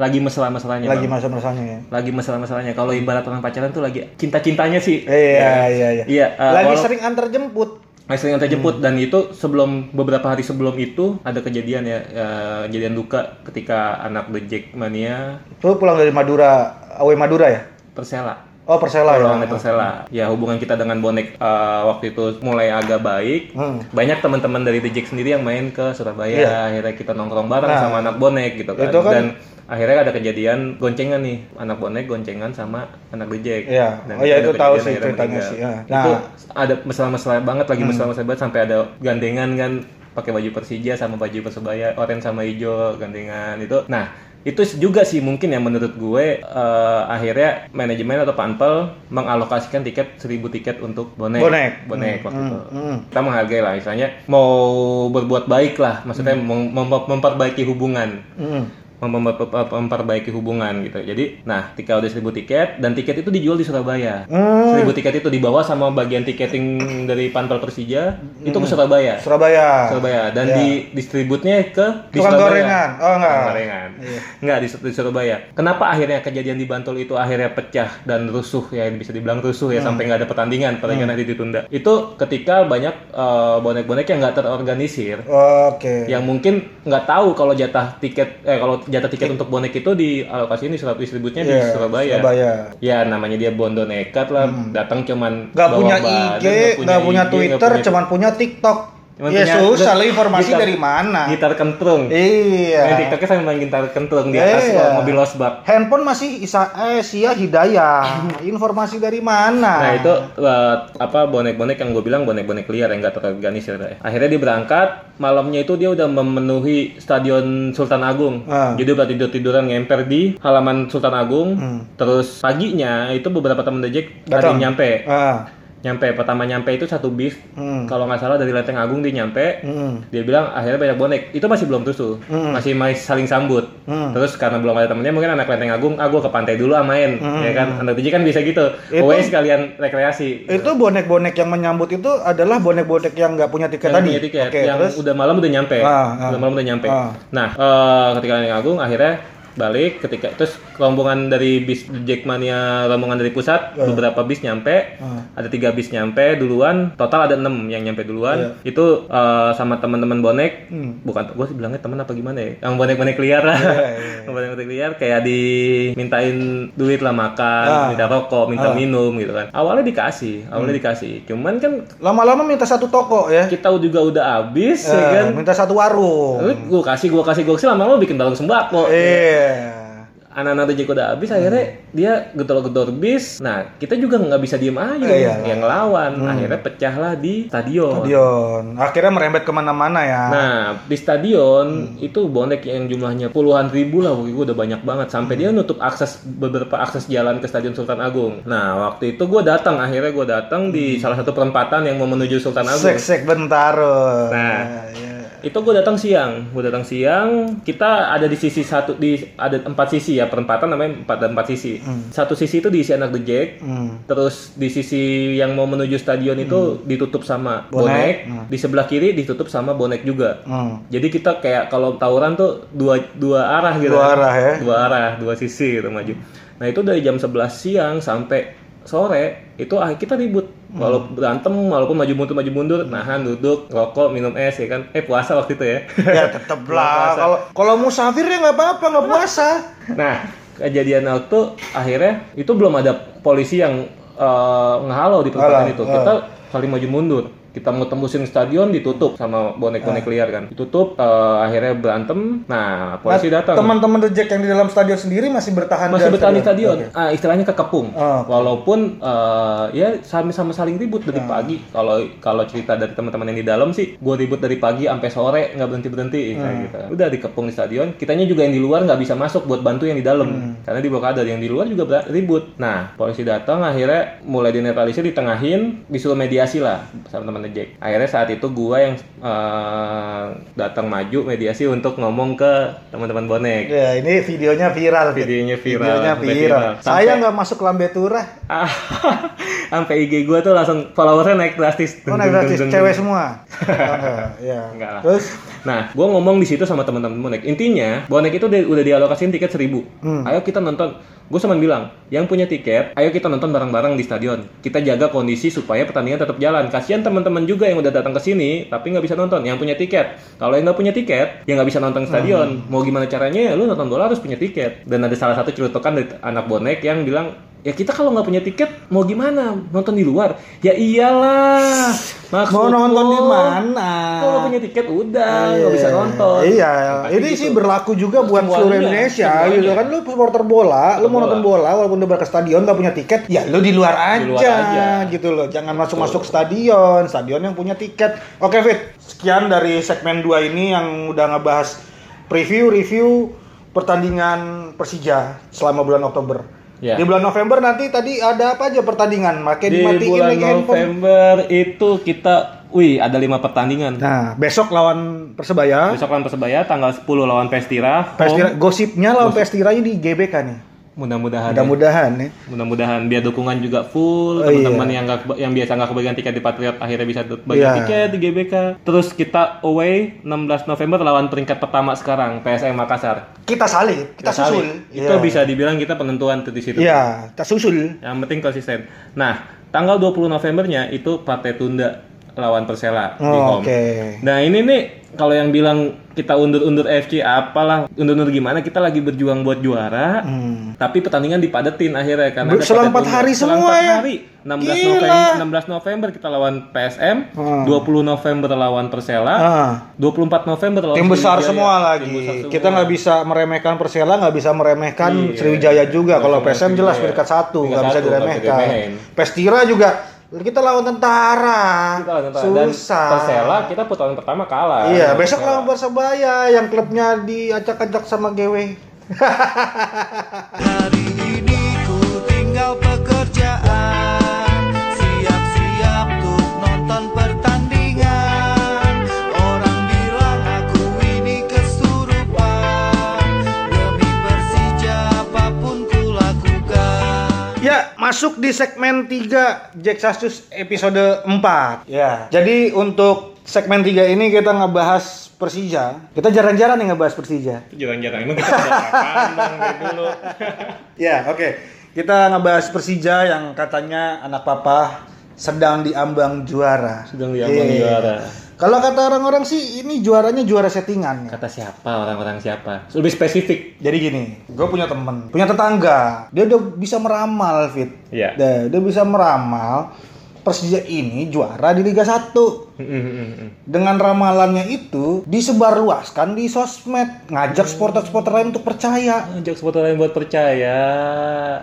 B: lagi mesra-mesranya.
A: lagi
B: Bang.
A: masa-masanya ya
B: lagi mesra-mesranya. Kalau ibarat orang pacaran tuh lagi cinta-cintanya sih.
A: iya iya iya
B: Iya, eh,
A: lagi
B: walau-
A: sering antar jemput
B: Masih yang terjemput dan itu sebelum beberapa hari sebelum itu ada kejadian ya eh, kejadian duka ketika anak The Jack Mania
A: lu pulang dari Madura awe Madura ya
B: Persela
A: oh Persela ya
B: Lawannya Persela. Ya hubungan kita dengan bonek eh, waktu itu mulai agak baik.
A: Hmm.
B: Banyak teman-teman dari The Jack sendiri yang main ke Surabaya.
A: Iya.
B: Akhirnya kita nongkrong bareng
A: Nah.
B: sama anak bonek gitu kan.
A: Itu kan-
B: Dan akhirnya ada kejadian goncengan nih anak bonek goncengan sama anak The Jack.
A: Iya.
B: Dan
A: Oh, iya, itu
B: ada
A: tahu
B: kejadian
A: sih
B: akhirnya
A: ceritanya
B: meninggal.
A: sih, ya.
B: Itu
A: Nah. Hmm.
B: ada mesra-mesra banget lagi mesra-mesra banget sampai ada gandengan kan pakai baju Persija sama baju Persebaya, oranye sama hijau gandengan itu. Nah, itu juga sih mungkin ya menurut gue eh, akhirnya manajemen atau panpel mengalokasikan tiket 1000 tiket untuk bonek
A: Bonek.
B: bonek waktu itu
A: hmm.
B: kita menghargai lah misalnya mau berbuat baik lah maksudnya mem- mem- memperbaiki hubungan
A: Mm.
B: Mem- mem- memperbaiki hubungan gitu. Jadi, nah, ketika udah 1000 tiket dan tiket itu dijual di Surabaya.
A: Hmm.
B: 1000 tiket itu dibawa sama bagian tiketing dari Panpel Persija itu ke Hmm. Surabaya.
A: Surabaya
B: Surabaya dan
A: Iya.
B: di distributnya ke di
A: Tukang
B: Surabaya.
A: gorengan. Oh, enggak.
B: Tukang gorengan.
A: iya.
B: Enggak di, di Surabaya. Kenapa akhirnya kejadian di Bantul itu akhirnya pecah dan rusuh ya bisa dibilang rusuh
A: Hmm.
B: ya sampai nggak ada pertandingan, pertandingan nanti ditunda. Itu ketika banyak eh, bonek-bonek yang nggak terorganisir
A: oke
B: yang mungkin nggak tahu kalau jatah tiket eh kalau jatah tiket untuk bonek itu dialokasiin di Surabaya distributnya di
A: Iya,
B: Surabaya.
A: Surabaya Hmm.
B: Ya namanya dia bondo nekat lah, datang cuman
A: nggak
B: bawa
A: punya
B: badan,
A: IG, nggak punya
B: IG, nggak
A: Twitter,
B: punya-
A: cuman punya TikTok.
B: cuman
A: ya
B: punya-
A: susah
B: udah,
A: lah informasi
B: gitar-
A: dari mana?
B: Gitar kentrung.
A: Iya.
B: Main TikToknya sambil main gitar kentrung di atas
A: Iya.
B: kalau mobil losbak.
A: Handphone masih Isa eh, Sia Hidayah. informasi dari mana?
B: Nah itu eh, apa bonek-bonek yang gue bilang bonek-bonek liar yang gak terorganisir ya. Akhirnya dia berangkat malamnya itu dia udah memenuhi stadion Sultan Agung.
A: Ah.
B: Jadi udah tidur tiduran ngemper di halaman Sultan Agung.
A: Hmm.
B: Terus paginya itu beberapa temen The Jack ada
A: Datang.
B: yang nyampe.
A: Ah,
B: nyampe pertama nyampe itu satu bis
A: Hmm.
B: kalau nggak salah dari Lenteng Agung dia nyampe
A: Hmm.
B: dia bilang akhirnya banyak bonek itu masih belum tusu
A: Hmm.
B: masih masih saling sambut
A: Hmm.
B: terus karena belum ada temennya mungkin anak Lenteng Agung ah gua ke pantai dulu ah main
A: Hmm.
B: ya kan anak TJ kan bisa gitu
A: Itu-
B: away sekalian rekreasi
A: Itu bonek-bonek yang menyambut itu adalah bonek-bonek yang nggak punya tiket
B: yang
A: tadi.
B: punya tiket,
A: Oke,
B: yang
A: terus
B: udah malam udah nyampe,
A: Ah, ah.
B: udah malam udah nyampe.
A: Ah.
B: Nah, eh, ketika Lenteng Agung akhirnya balik ketika terus rombongan dari bis Jackmania rombongan dari pusat beberapa bis nyampe
A: Ah.
B: ada tiga bis nyampe duluan total ada enam yang nyampe duluan
A: Iya.
B: itu eh, sama teman-teman bonek
A: Hmm.
B: bukan gue bilangnya teman apa gimana ya yang bonek-bonek liar
A: Iya,
B: lah Yang bonek-bonek liar kayak dimintain duit lah
A: Ah.
B: makan minta rokok minta
A: Ah. Hmm.
B: minum gitu kan awalnya dikasih awalnya dikasih cuman kan
A: lama-lama minta satu toko ya.
B: kita juga udah habis ya
A: Eh,
B: kan
A: minta satu warung.
B: Lalu gue kasih gue kasih gue kasih lama-lama bikin balon sembako
A: Eh. Iya.
B: anak-anak Dejek udah habis akhirnya
A: Hmm.
B: dia gedor-gedor bis nah kita juga nggak bisa diem aja
A: Eh, iya.
B: yang ngelawan akhirnya pecahlah di stadion,
A: Stadion. Akhirnya merembet kemana-mana ya.
B: Nah, di stadion itu bonek yang jumlahnya puluhan ribu lah, waktu itu udah banyak banget. Sampai dia nutup akses beberapa akses jalan ke Stadion Sultan Agung. Nah, waktu itu gue datang, akhirnya gue datang di salah satu perempatan yang mau menuju Sultan Agung.
A: Sek-sek bentar.
B: Nah.
A: ya.
B: itu gue datang siang gue datang siang kita ada di sisi satu di ada empat sisi ya perempatan namanya empat ada empat sisi satu sisi itu diisi anak the jack
A: Hmm.
B: terus di sisi yang mau menuju stadion itu ditutup sama bonek,
A: Bonek. Hmm.
B: di sebelah kiri ditutup sama bonek juga
A: Hmm.
B: jadi kita kayak kalau tawuran tuh dua dua arah gitu
A: Dua arah ya.
B: dua arah dua sisi gitu maju nah itu dari jam 11 siang sampai sore itu ah, kita ribut
A: Hmm.
B: walaupun berantem walaupun maju mundur maju mundur nahan duduk rokok minum es ya kan eh puasa waktu itu ya
A: Ya tetep lah.
B: Puasa.
A: Kalau kalau musafir ya nggak apa-apa nggak puasa.
B: nah kejadian waktu akhirnya itu belum ada polisi yang eh, ngehalau di
A: Alah,
B: perempatan itu
A: ah.
B: kita saling maju mundur kita mau tembusin stadion ditutup sama bonek-bonek
A: Ah.
B: liar kan ditutup eh, akhirnya berantem nah polisi
A: Nah,
B: datang
A: Teman-teman reject yang di dalam stadion sendiri masih bertahan.
B: masih
A: dalam
B: bertahan di stadion. Ah, istilahnya kekepung.
A: Ah, oke.
B: Walaupun eh, ya sama-sama saling ribut dari pagi. Kalau kalau cerita dari teman-teman yang di dalam sih, gue ribut dari pagi sampai sore nggak berhenti berhenti. gitu. Udah dikepung di stadion. Kitanya juga yang di luar nggak bisa masuk buat bantu yang di dalam. Karena di blokade yang di luar juga ber- ribut. Nah polisi datang akhirnya mulai dinetralisir, ditengahin, disuruh mediasi lah sama teman Jack. Akhirnya saat itu gue yang eh, datang maju mediasi untuk ngomong ke teman-teman bonek.
A: Ya ini videonya viral. Fit.
B: Videonya viral,
A: Videonya
B: sampai
A: viral.
B: viral.
A: Saya
B: Sampai-
A: nggak masuk lambe turah.
B: Ah, sampai IG gua tuh langsung followersnya naik drastis.
A: Oh
B: Dung,
A: naik
B: dung,
A: gratis,
B: dung, dung,
A: cewek
B: dung.
A: semua. Oh, enggak, ya.
B: Enggak lah.
A: Terus
B: Nah, gua ngomong di situ sama teman-teman bonek. Intinya, bonek itu udah, udah dialokasiin tiket 1000.
A: Hmm.
B: Ayo kita nonton. Gue cuma bilang, yang punya tiket, ayo kita nonton bareng-bareng di stadion. Kita jaga kondisi supaya pertandingan tetap jalan. Kasihan teman-teman juga yang udah datang ke sini tapi nggak bisa nonton. Yang punya tiket, kalau yang nggak punya tiket, ya nggak bisa nonton stadion.
A: Hmm.
B: Mau gimana caranya? Ya lu nonton bola harus punya tiket. Dan ada salah satu celutukan dari anak bonek yang bilang, ya kita kalau nggak punya tiket mau gimana nonton di luar ya iyalah maksud
A: mau nonton
B: gua,
A: di mana?
B: kalau nggak punya tiket udah nggak bisa
A: Iya.
B: nonton
A: Iya,
B: Tapi
A: ini
B: gitu.
A: sih berlaku juga buat
B: Semuanya,
A: seluruh Indonesia
B: semuanya.
A: gitu kan. Lu supporter bola, lu mau
B: Bola.
A: nonton bola walaupun udah ke stadion nggak punya tiket, ya lu di luar aja,
B: Di luar aja.
A: gitu loh. Jangan masuk-masuk stadion, stadion yang punya tiket. Oke, Fit. Sekian dari segmen 2 ini yang udah ngebahas preview-review pertandingan Persija selama bulan Oktober.
B: Iya.
A: Di bulan November nanti tadi ada apa aja pertandingan? Makanya
B: di
A: dimatiin
B: bulan
A: lagi handphone.
B: November itu kita wih ada lima pertandingan
A: Nah, besok lawan Persebaya.
B: besok lawan persebaya tanggal 10 lawan Pestira home.
A: Pestira, gosipnya lawan Pestira ini di GBK nih. Iya.
B: mudah-mudahan ya.
A: Mudah-mudahan nih.
B: mudah-mudahan biar dukungan juga full
A: Oh,
B: teman-teman
A: iya.
B: yang nggak keba- yang biasa nggak kebagian tiket di Patriot akhirnya bisa bagian
A: Iya.
B: tiket di GBK terus kita away 16 November lawan peringkat pertama sekarang PSM Makassar
A: Kita salib, kita
B: Sekali.
A: susul.
B: Itu
A: Iya.
B: bisa dibilang kita penentuan tuh di situ.
A: Iya, kita susul.
B: Yang penting konsisten. Nah, tanggal 20 Novembernya itu partai tunda lawan Persela di
A: Oh,
B: home.
A: Oke.
B: Nah, ini nih kalau yang bilang kita undur-undur FC apalah, undur-undur gimana? Kita lagi berjuang buat juara.
A: Hmm.
B: Tapi pertandingan dipadetin akhirnya karena
A: Ber-
B: ada
A: selang
B: partai
A: empat
B: tunda.
A: hari
B: Selang
A: semua
B: empat
A: ya?
B: hari.
A: Gila.
B: 16
A: Hmm.
B: November, 16 November kita lawan PSM, 20 November lawan Persela,
A: Ah,
B: 24 November lawan
A: tim besar
B: Oh, Sriwijaya. ya.
A: semua lagi.
B: Tim besar semua.
A: Kita nggak bisa meremehkan Persela, nggak bisa meremehkan
B: Iya.
A: Sriwijaya juga.
B: Nggak
A: Kalau
B: bisa
A: PSM
B: meremehkan
A: jelas
B: Sriwijaya.
A: peringkat satu,
B: Peringkat
A: nggak bisa
B: satu, nggak bisa
A: diremehkan.
B: diremehin.
A: Pestira juga. Kita lawan tentara.
B: Kita lawan Tentara. Dan
A: Susah.
B: Persela kita putaran pertama kalah.
A: Iya,
B: Lawan
A: besok
B: Persela.
A: lawan Persebaya yang klubnya diacak-acak sama GW.
C: Hari ini ku tinggal pekerjaan Siap-siap
A: Ya, Masuk di segmen 3 Jack Sasus episode 4. Ya. Jadi untuk segmen 3 ini kita ngebahas Persija. Kita jarang-jarang nih ngebahas Persija.
B: Jarang-jarang emang kita udah kapan bang dari dulu.
A: Ya, oke. Kita ngebahas Persija yang katanya anak papa sedang diambang juara.
B: Sedang diambang
A: Iya.
B: juara.
A: Kalau kata orang-orang sih ini juaranya juara settingan. ya.
B: Kata siapa orang-orang siapa? Lebih spesifik.
A: Jadi gini, gue punya temen, punya tetangga, dia udah bisa meramal fit,
B: Iya.
A: Dia- dia bisa meramal Persija ini juara di Liga 1 dengan ramalannya itu disebarluaskan di sosmed, ngajak supporter-supporter lain untuk percaya.
B: Ajak supporter lain buat percaya.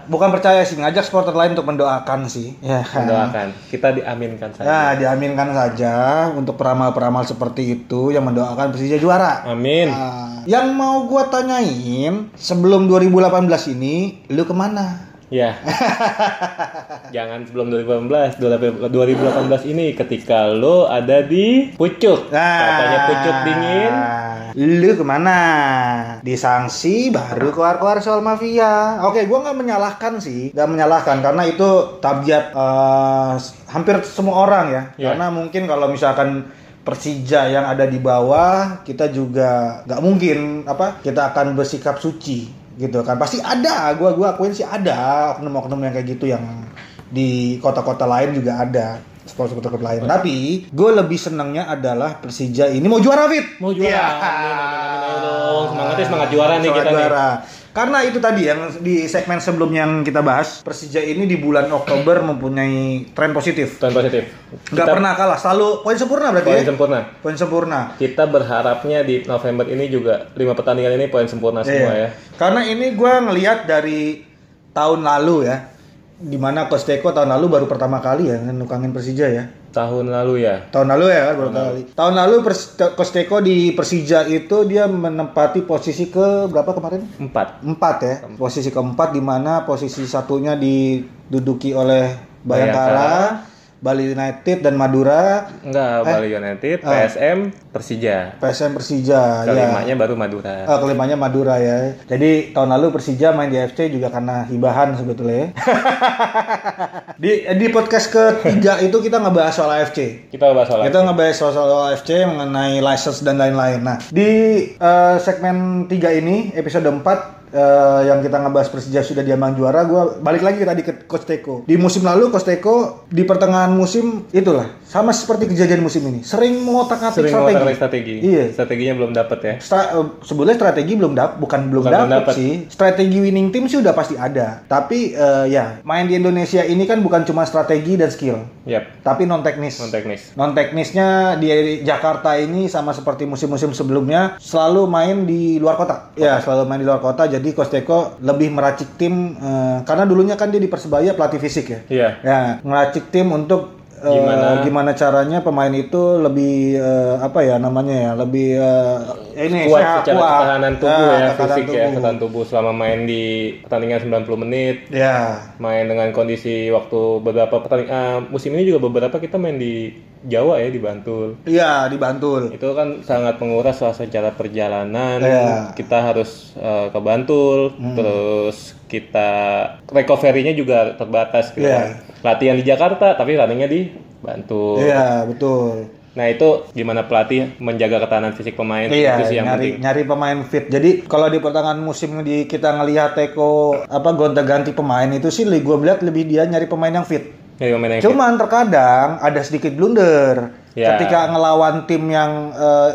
A: Bukan percaya sih, ngajak supporter lain untuk mendoakan sih. Ya kan?
B: Mendoakan. Kita diaminkan saja.
A: Ya, diaminkan saja untuk peramal-peramal seperti itu yang mendoakan Persija juara.
B: Amin.
A: Nah, yang mau gua tanyain, sebelum 2018 ini, lu kemana?
B: Ya. Jangan sebelum 2018, 2018 ini ketika lo ada di pucuk. Katanya pucuk dingin.
A: Ah. Lu kemana? Disangsi baru keluar-keluar soal mafia. Oke, gua nggak menyalahkan sih, nggak menyalahkan karena itu tabiat eh, s- hampir semua orang ya.
B: Ya.
A: Karena mungkin kalau misalkan Persija yang ada di bawah, kita juga nggak mungkin apa kita akan bersikap suci gitu kan. Pasti ada, gua gua akuin sih ada oknum-oknum yang kayak gitu yang di kota-kota lain juga ada supporter-supporter lain. Tapi gue lebih senangnya adalah Persija ini mau juara fit.
B: Mau juara.
A: Iya.
B: Amin, amin, amin, ayo dong. Semangatnya semangat juara nih kita nih.
A: Karena itu tadi yang di segmen sebelumnya yang kita bahas, Persija ini di bulan Oktober mempunyai tren positif.
B: Tuan positif.
A: Nggak pernah kalah, selalu poin sempurna berarti
B: poin
A: ya?
B: sempurna.
A: Poin sempurna.
B: Kita berharapnya di November ini juga lima pertandingan ini poin sempurna semua
A: Iya.
B: ya.
A: Karena ini gua ngelihat dari tahun lalu ya, dimana Kosteko tahun lalu baru pertama kali ya nukangin Persija ya.
B: Tahun lalu ya.
A: Tahun lalu ya kan baru kali. Tahun lalu Pers- Kosteko di Persija itu dia menempati posisi ke berapa kemarin?
B: Empat.
A: Empat ya. Posisi keempat di mana posisi satunya diduduki oleh Bayangkara, Bali United dan Madura,
B: Enggak, Bali United,
A: Ah.
B: PSM, Persija.
A: PSM Persija. ya.
B: Kelimanya baru Madura.
A: Ah, kelimanya Madura ya. Jadi tahun lalu Persija main di FC juga karena hibahan sebetulnya. ya. di eh, di podcast ketiga itu kita ngebahas soal AFC.
B: Kita bahas soal
A: Kita ngebahas soal, soal AFC mengenai license dan lain-lain. Nah, di eh, segmen 3 ini episode 4 eh, yang kita ngebahas Persija sudah diambang juara, gua balik lagi tadi ke Coach Teko. Di musim lalu Coach Teko di pertengahan musim itulah sama seperti kejadian musim ini, sering mengotak-atik
B: sering
A: strategi.
B: strategi. strategi.
A: Iya.
B: Strateginya belum dapat ya.
A: Stra- eh, sebetulnya strategi belum dap bukan belum
B: Bukan belum
A: dapat
B: dapet.
A: sih strategi winning team sih udah pasti ada tapi eh, ya main di Indonesia ini kan bukan cuma strategi dan skill
B: Yap,
A: tapi non teknis
B: non teknis.
A: non teknisnya di Jakarta ini sama seperti musim-musim sebelumnya selalu main di luar kota ya selalu main di luar kota jadi Kosteko lebih meracik tim eh, karena dulunya kan dia di Persebaya pelatih fisik ya
B: Iya.
A: Ya, ngeracik tim untuk eh, gimana?
B: Gimana?
A: caranya pemain itu lebih eh, apa ya namanya ya, lebih eh, ini
B: Kuat
A: sehat,
B: secara
A: kuat.
B: ketahanan tubuh
A: Ah,
B: ya,
A: ketahanan
B: fisik ya,
A: tubuh.
B: ketahanan tubuh selama main di pertandingan 90 menit,
A: Ya.
B: main dengan kondisi waktu beberapa pertandingan musim ini juga beberapa kita main di Jawa ya di Bantul.
A: Iya, di Bantul.
B: Itu kan sangat menguras secara perjalanan.
A: Iya. Hmm.
B: Kita harus eh, ke Bantul, terus kita recovery-nya juga terbatas gitu.
A: Iya.
B: kan. Latihan di Jakarta tapi running-nya di Bantul.
A: Iya, betul.
B: Nah itu gimana pelatih menjaga ketahanan fisik pemain
A: Iya,
B: itu sih yang
A: nyari
B: penting.
A: nyari pemain fit. Jadi kalau di pertengahan musim di kita ngelihat Teko apa gonta-ganti pemain itu sih li- gua lihat lebih dia nyari pemain yang fit.
B: Nyari pemain yang fit.
A: Cuman terkadang ada sedikit blunder
B: Ya.
A: ketika ngelawan tim yang eh,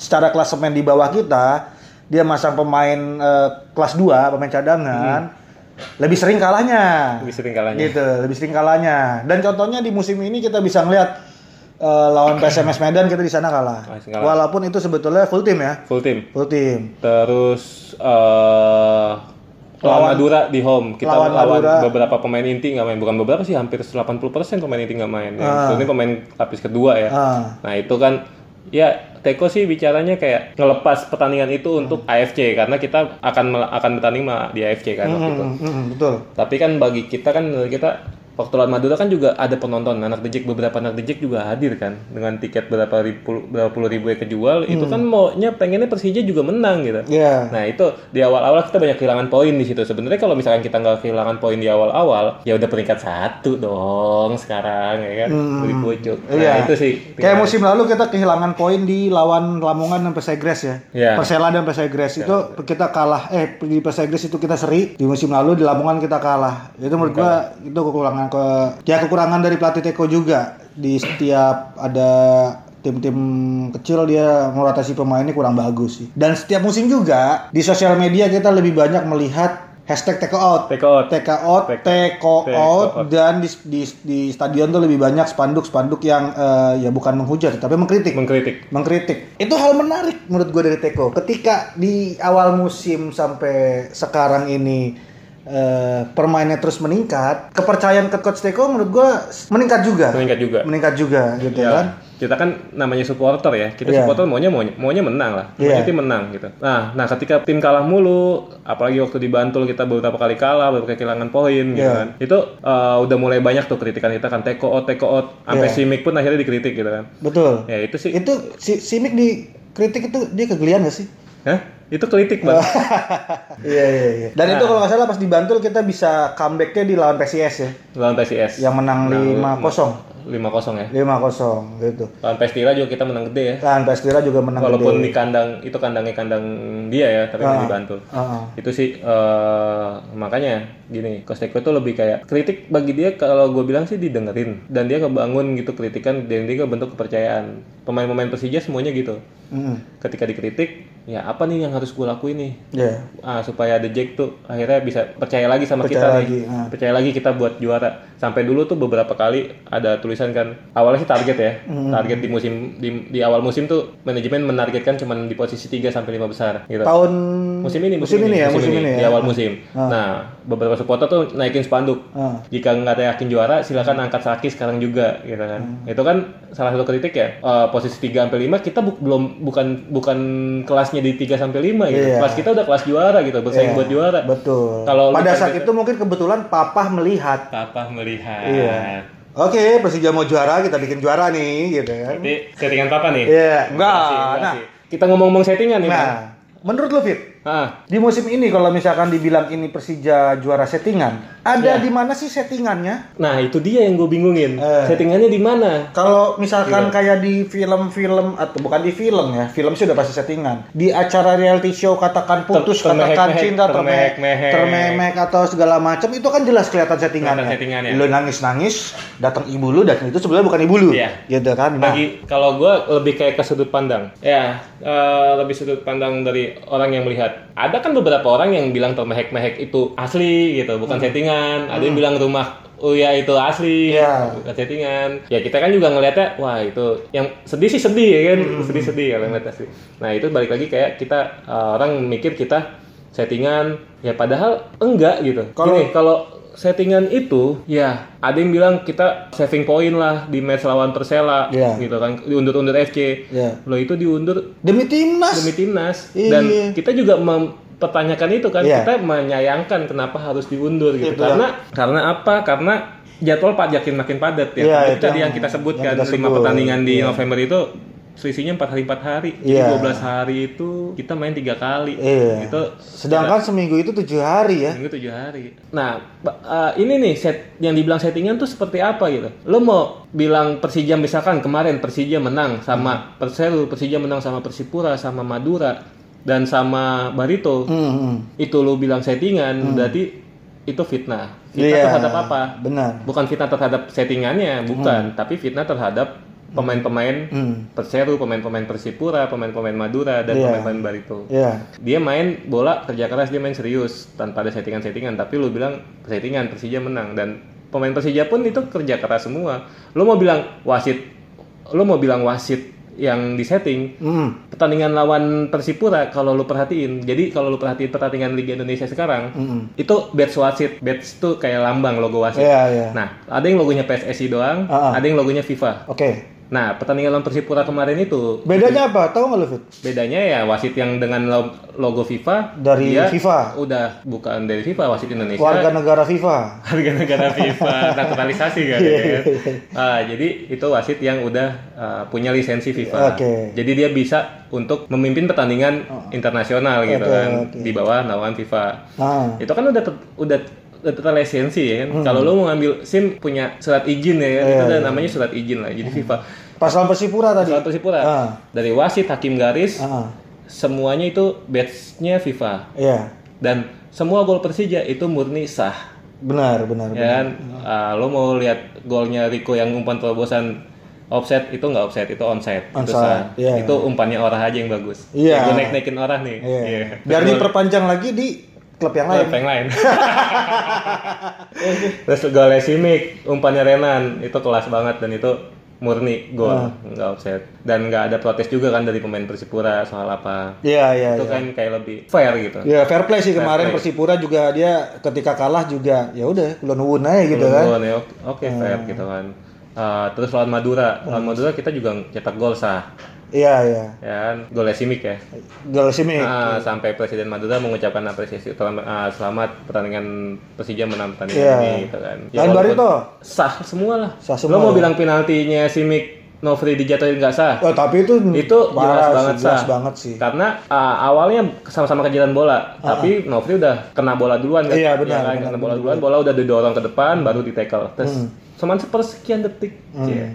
A: secara klasemen di bawah kita, dia masang pemain eh, kelas 2, pemain cadangan, lebih sering kalahnya.
B: Hmm. Lebih sering kalahnya.
A: Gitu, lebih sering kalahnya. Dan contohnya di musim ini kita bisa ngelihat eh, lawan PSMS Medan kita di sana kalah.
B: Masih kalah.
A: Walaupun itu sebetulnya full tim ya,
B: Full team.
A: full tim.
B: Terus eh
A: Lawan-
B: lawan Madura di home kita
A: lawan
B: lawan,
A: Madura.
B: beberapa pemain inti nggak main bukan beberapa sih hampir 80% pemain inti nggak main.
A: Ah.
B: Ya. Ini pemain lapis kedua ya.
A: Ah.
B: Nah itu kan ya Teko sih bicaranya kayak ngelepas pertandingan itu untuk
A: Hmm.
B: AFC karena kita
A: Hmm.
B: akan mel- akan bertanding mel- di AFC kan waktu itu.
A: Mm, mm, betul.
B: Tapi kan bagi kita kan menurut kita waktu lawan Madura kan juga ada penonton anak dejek beberapa anak dejek juga hadir kan dengan tiket berapa ribu berapa puluh ribu yang kejual
A: Hmm.
B: itu kan maunya pengennya Persija juga menang gitu
A: Ya.
B: Nah itu di awal-awal kita banyak kehilangan poin di situ. Sebenarnya kalau misalkan kita nggak kehilangan poin di awal-awal, ya udah peringkat satu dong sekarang ya kan di pojok. Nah
A: Iya.
B: itu sih.
A: Kayak musim lalu kita kehilangan poin di lawan Lamongan dan Persegres ya.
B: Iya.
A: Persela dan Persegres itu kita kalah. Eh di Persegres itu kita seri. Di musim lalu di Lamongan kita kalah. Itu menurut gua itu kekurangan ke ya kekurangan dari pelatih Teko juga di setiap ada tim-tim kecil dia merotasi pemainnya kurang bagus sih. Dan setiap musim juga di sosial media kita lebih banyak melihat hashtag Teko out.
B: Take out.
A: TK out,
B: Take-
A: TK out,
B: take out.
A: dan di, di, di stadion tuh lebih banyak spanduk-spanduk yang eh, ya bukan menghujat tapi mengkritik.
B: Mengkritik.
A: mengkritik. Itu hal menarik menurut gue dari Teko. Ketika di awal musim sampai sekarang ini eh, permainnya terus meningkat, kepercayaan ke coach Teko menurut gue meningkat juga.
B: Meningkat juga.
A: Meningkat juga gitu
B: Ya,
A: kan.
B: Kita kan namanya supporter ya. Kita
A: Iya.
B: supporter maunya maunya, maunya menang lah. Maunya
A: Iya.
B: tim menang gitu. Nah, nah ketika tim kalah mulu, apalagi waktu di Bantul kita beberapa kali kalah, beberapa kehilangan poin gitu
A: Iya.
B: kan. Itu eh, udah mulai banyak tuh kritikan kita kan teko out, teko out, sampai
A: Iya.
B: Simic pun akhirnya dikritik gitu kan.
A: Betul.
B: Ya itu sih.
A: Itu si Simic di kritik itu dia kegelian gak sih?
B: Hah? Itu kritik banget.
A: Iya iya iya. Dan
B: Nah.
A: itu kalau nggak salah pas di Bantul kita bisa comebacknya di lawan PSIS ya.
B: lawan PSIS
A: yang menang 5-0
B: 5-0 ya
A: 5-0 gitu
B: lawan Pestira juga kita menang gede ya
A: kan Pestira juga menang
B: walaupun
A: gede.
B: di kandang itu kandangnya kandang dia ya tapi
A: Ah.
B: dibantu dibantu
A: Heeh.
B: itu sih eh, makanya gini Kosteko itu lebih kayak kritik bagi dia kalau gue bilang sih didengerin dan dia kebangun gitu kritikan dan dia bentuk kepercayaan pemain-pemain Persija semuanya gitu
A: Mm-mm.
B: ketika dikritik ya apa nih yang harus gue lakuin nih
A: Iya.
B: Ah, supaya The Jack tuh akhirnya bisa percaya lagi sama
A: Percaya
B: kita
A: lagi,
B: nih.
A: ah.
B: Percaya lagi kita buat juara. Sampai dulu tuh beberapa kali ada tulisan kan awalnya sih target ya.
A: Mm-hmm.
B: Target di musim di, di awal musim tuh manajemen menargetkan cuma di posisi 3 sampai 5 besar gitu.
A: tahun
B: Musim ini, musim, ini,
A: ya musim ini,
B: di
A: ya
B: awal musim. Nah, beberapa supporter tuh naikin spanduk.
A: Ah.
B: Jika nggak yakin juara,
A: Hmm.
B: silakan angkat Saki sekarang juga, gitu kan. Itu kan salah satu kritik ya. Eh, posisi 3 sampai 5 kita bu- belum bukan bukan kelasnya di 3 sampai 5 gitu.
A: Iya.
B: Kelas kita udah kelas juara gitu,
A: Iya,
B: bersaing buat juara.
A: betul
B: Kalau lu
A: pada saat
B: target-
A: itu mungkin kebetulan Papa melihat
B: Papa melihat.
A: Iya. Oke, Persija mau juara, kita bikin juara nih, gitu kan.
B: Jadi settingan Papa nih.
A: Iya, enggak.
B: Enggak sih, enggak
A: Nah,
B: sih. Kita ngomong-ngomong settingan nih,
A: nah,
B: Bang.
A: menurut lu Fit,
B: Ah,
A: di musim ini kalau misalkan dibilang ini Persija juara settingan, ada
B: Iya.
A: di mana sih settingannya?
B: Nah, itu dia yang gue bingungin.
A: Eh.
B: Settingannya di mana?
A: Kalau misalkan kayak di film-film atau bukan di film ya, film sih udah pasti settingan. Di acara reality show katakan putus,
B: Ter- termehek-mehek,
A: katakan cinta, termehek,
B: termehek-mehek.
A: termehek atau segala macam itu kan jelas kelihatan settingannya.
B: Kelihatan ya. settingannya.
A: Lu nangis-nangis, datang ibu lu dan itu sebenarnya bukan ibu lu.
B: Iya.
A: Gitu kan. Nah,
B: Bagi kalau gue lebih kayak ke sudut pandang. Ya, eh, lebih sudut pandang dari orang yang melihat. Ada kan beberapa orang yang bilang termehek-mehek itu asli gitu, bukan settingan. Ada yang bilang rumah Uya itu asli,
A: Iya.
B: bukan settingan. Ya kita kan juga ngelihatnya, wah itu yang sedih sih sedih ya kan,
A: Hmm.
B: sedih-sedih kalau ngeliat asli. Nah itu balik lagi kayak kita eh, orang mikir kita settingan, ya padahal enggak gitu.
A: Kalau-
B: Gini, kalau settingan itu ya ada yang bilang kita saving point lah di match lawan Persela
A: Iya.
B: gitu kan diundur-undur FC
A: Iya.
B: lo itu diundur
A: demi timnas.
B: demi timnas
A: Iya.
B: dan kita juga mempertanyakan itu kan
A: Iya.
B: kita menyayangkan kenapa harus diundur gitu
A: Itu.
B: karena karena apa karena jadwal pajakin makin padat ya
A: Iya,
B: Itu
A: itu
B: tadi
A: yang-
B: yang kita sebutkan
A: yang kita
B: lima
A: sebut.
B: pertandingan di
A: Iya.
B: November itu selisihnya 4 hari 4 hari
A: Iya.
B: jadi 12 hari itu kita main tiga kali
A: Iya.
B: itu
A: Sedangkan seminggu itu tujuh hari ya.
B: Minggu tujuh hari. Nah, ba- eh, ini nih set yang dibilang settingan tuh seperti apa gitu. Lo mau bilang Persija misalkan kemarin Persija menang
A: Hmm.
B: sama Perseru, Persija menang sama Persipura, sama Madura dan sama Barito.
A: Hmm, hmm.
B: Itu lo bilang settingan, berarti itu fitnah. Fitnah
A: Iya,
B: terhadap apa?
A: Benar.
B: Bukan fitnah terhadap settingannya, bukan, tapi fitnah terhadap pemain-pemain
A: Hmm.
B: Perseru, pemain-pemain Persipura, pemain-pemain Madura dan
A: Iya.
B: pemain-pemain Barito
A: Iya.
B: dia main bola kerja keras dia main serius tanpa ada settingan-settingan tapi lu bilang settingan Persija menang dan pemain Persija pun itu kerja keras semua lu mau bilang wasit lu mau bilang wasit yang disetting
A: Hmm.
B: pertandingan lawan Persipura kalau lu perhatiin jadi kalau lu perhatiin pertandingan Liga Indonesia sekarang
A: Mm-mm.
B: itu badge wasit badge tuh kayak lambang logo wasit
A: hmm. Iya, iya.
B: nah ada yang logonya PSSI doang
A: Ah, ah.
B: ada yang logonya FIFA
A: Oke.
B: Nah, pertandingan lawan Persipura kemarin itu
A: Bedanya apa? Tahu nggak lu, Fit?
B: bedanya ya wasit yang dengan lo- logo FIFA
A: Dari
B: dia
A: FIFA.
B: Udah bukan dari FIFA wasit Indonesia.
A: Warga negara FIFA.
B: warga negara FIFA
A: Iya,
B: naturalisasi kan ya kan? Ah, jadi itu wasit yang udah ah, punya lisensi FIFA
A: Oke. Oh.
B: jadi dia bisa untuk memimpin pertandingan internasional gitu
A: Oke,
B: kan
A: oke.
B: di bawah naungan FIFA
A: Nah,
B: itu kan udah ter- udah udah terlisensi ya
A: Hmm.
B: kan kalau lo mau ngambil SIM punya surat izin ya kan
A: Iya,
B: itu udah namanya surat izin lah jadi FIFA
A: pas lawan Persipura tadi.
B: surat Persipura
A: Hmm. Ah.
B: dari wasit hakim garis
A: Ah,
B: semuanya itu badge-nya FIFA
A: iya.
B: dan semua gol Persija itu murni sah
A: Benar, benar.
B: ya kan Ah, lo mau lihat golnya Rico yang umpan terobosan offset itu nggak offset itu onside, itu
A: Onside,
B: sah
A: iya.
B: itu umpannya Orah aja yang bagus
A: Iya.
B: gue naik naikin Orah nih
A: Iya.
B: Iya.
A: Biar
B: Terus
A: diperpanjang lagi di klub yang
B: gol-
A: lain.
B: klub yang lain terus golnya Simic umpannya Renan itu kelas banget dan itu murni
A: Ah.
B: gol nggak offset dan nggak ada protes juga kan dari pemain Persipura soal apa
A: Iya, iya,
B: itu
A: iya.
B: kan kayak lebih fair gitu
A: Ya fair play sih kemarin
B: play.
A: Persipura juga dia ketika kalah juga ya udah kulon nuwun aja gitu kan.
B: Belum ya, oke fair gitu kan Ah, terus lawan Madura
A: Hmm.
B: lawan Madura kita juga cetak gol sah
A: Iya iya.
B: ya kan? golnya Simic ya
A: Gol sini.
B: Ah, sampai Presiden Madura mengucapkan apresiasi telah ah, selamat pertandingan Persija menang pertandingan
A: Iya.
B: ini gitu kan
A: Lain
B: walaupun
A: Barito.
B: sah semua lah
A: Sah semua.
B: lo mau bilang penaltinya Simic Novri dijatuhin nggak sah
A: Oh, tapi itu
B: itu jelas
A: parah sih,
B: banget
A: jelas
B: sah
A: banget sih.
B: karena ah, awalnya sama-sama kejalan bola tapi Novri udah kena bola duluan kan
A: Iya,
B: Ya
A: benar, benar,
B: kan?
A: Hmm.
B: kena bola duluan bola udah didorong ke depan baru di tackle terus cuman sepersekian detik Cie.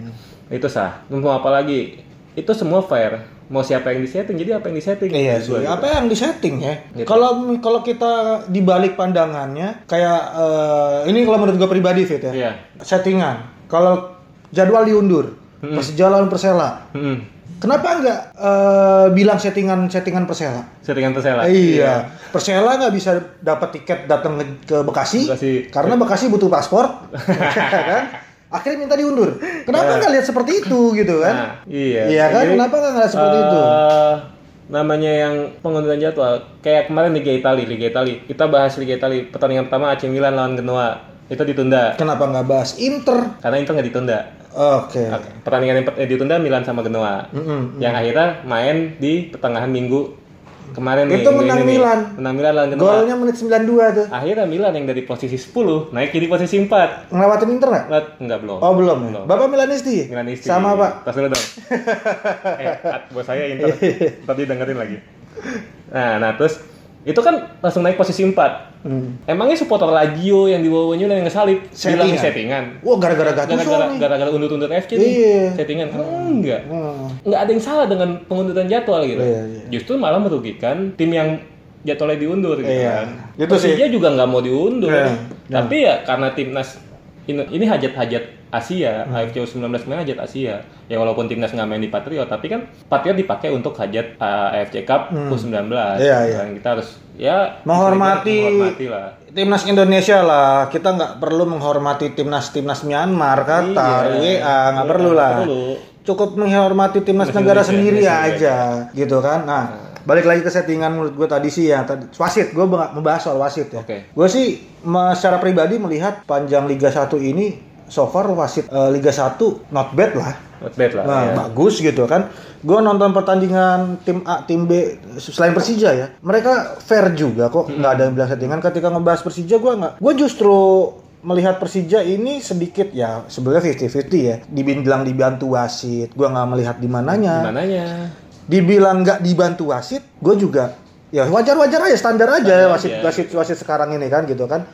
B: itu sah mau apa lagi itu semua fair mau siapa yang disetting jadi apa yang disetting
A: Iya
B: Menurut
A: sih.
B: gua gitu.
A: Apa yang disetting ya?
B: Gitu.
A: Kalau kalau kita dibalik pandangannya, kayak eh, ini kalau menurut gue pribadi fit ya,
B: Iya.
A: settingan. Kalau jadwal diundur,
B: Hmm.
A: Persija lawan Persela,
B: Mm-mm.
A: kenapa nggak eh, bilang settingan settingan Persela?
B: settingan Persela
A: Iya, Persela nggak bisa dapat tiket datang ke- ke Bekasi,
B: Bekasi.
A: karena Bekasi butuh paspor, kan? Akhirnya minta diundur. Kenapa nggak lihat seperti itu gitu kan?
B: Iya. Nah, iya
A: Iya kan?
B: Jadi,
A: Kenapa nggak ngeliat seperti itu?
B: eh, namanya yang pengunduran jadwal kayak kemarin Liga Itali Liga Itali kita bahas Liga Itali pertandingan pertama AC Milan lawan Genoa itu ditunda
A: Kenapa nggak bahas Inter?
B: karena itu nggak ditunda
A: Oke.
B: pertandingan yang per- eh, ditunda Milan sama Genoa
A: Mm-mm.
B: yang akhirnya main di pertengahan minggu kemarin nih,
A: Itu
B: minggu
A: menang
B: ini nih.
A: Milan.
B: menang Milan lawan Genoa
A: Golnya menit 92 tuh.
B: akhirnya Milan yang dari posisi 10 naik jadi posisi 4
A: Ngelewatin Inter nggak?
B: Nggak- nggak belum
A: Oh belum. ya?
B: Belum.
A: Bapak Milanisti.
B: Milanisti
A: Sama Pak.
B: tas dulu dong eh at, buat saya Inter tapi dengerin lagi nah nah terus itu kan langsung naik posisi 4
A: Hmm.
B: emangnya supporter Lazio yang dibawa Milan yang ngesalip bilang
A: Settingan.
B: settingan
A: Wah gara-gara Gattuso
B: gara-gara
A: nih.
B: gara-gara undur-undur FC
A: Iya.
B: nih settingan kan enggak
A: Hmm.
B: nggak ada yang salah dengan pengunduran jadwal gitu.
A: Iya, iya.
B: Justru malah merugikan tim yang jadwalnya diundur gitu
A: Iya.
B: kan.
A: Gitu sih.
B: Persija juga nggak mau diundur.
A: Iya,
B: Tapi ya karena timnas ini, ini hajat-hajat Asia, AFC U19 kemarin hajat Asia. Ya walaupun timnas nggak main di Patriot, tapi kan Patriot dipakai untuk hajat uh, AFC Cup
A: Iya,
B: U19. gitu
A: iya.
B: kan. Kita harus ya
A: Menghormati-
B: menghormati lah.
A: Timnas Indonesia lah, kita nggak perlu menghormati timnas-timnas Myanmar, Qatar,
B: Iya.
A: WA, nggak
B: Nggak
A: perlu lah.
B: perlu.
A: Cukup menghormati timnas negara sendiri aja,
B: iya.
A: gitu kan. Nah, balik lagi ke settingan menurut gue tadi sih ya, tadi wasit, gue nggak membahas soal wasit ya.
B: Oke.
A: Gue sih me- secara pribadi melihat panjang Liga 1 ini, so far wasit eh, Liga 1 not bad lah.
B: Not bad lah.
A: Nah,
B: ya.
A: bagus gitu kan. Gue nonton pertandingan tim A, tim B selain Persija ya. Mereka fair juga kok.
B: Hmm.
A: Nggak ada yang bilang settingan ketika ngebahas Persija gue nggak. Gue justru melihat Persija ini sedikit ya sebenarnya 50-50 ya. Dibilang dibantu wasit, gue nggak melihat di mananya.
B: Mananya?
A: Dibilang nggak dibantu wasit, gue juga ya wajar-wajar aja standar aja wasit wasit wasit sekarang ini kan gitu kan.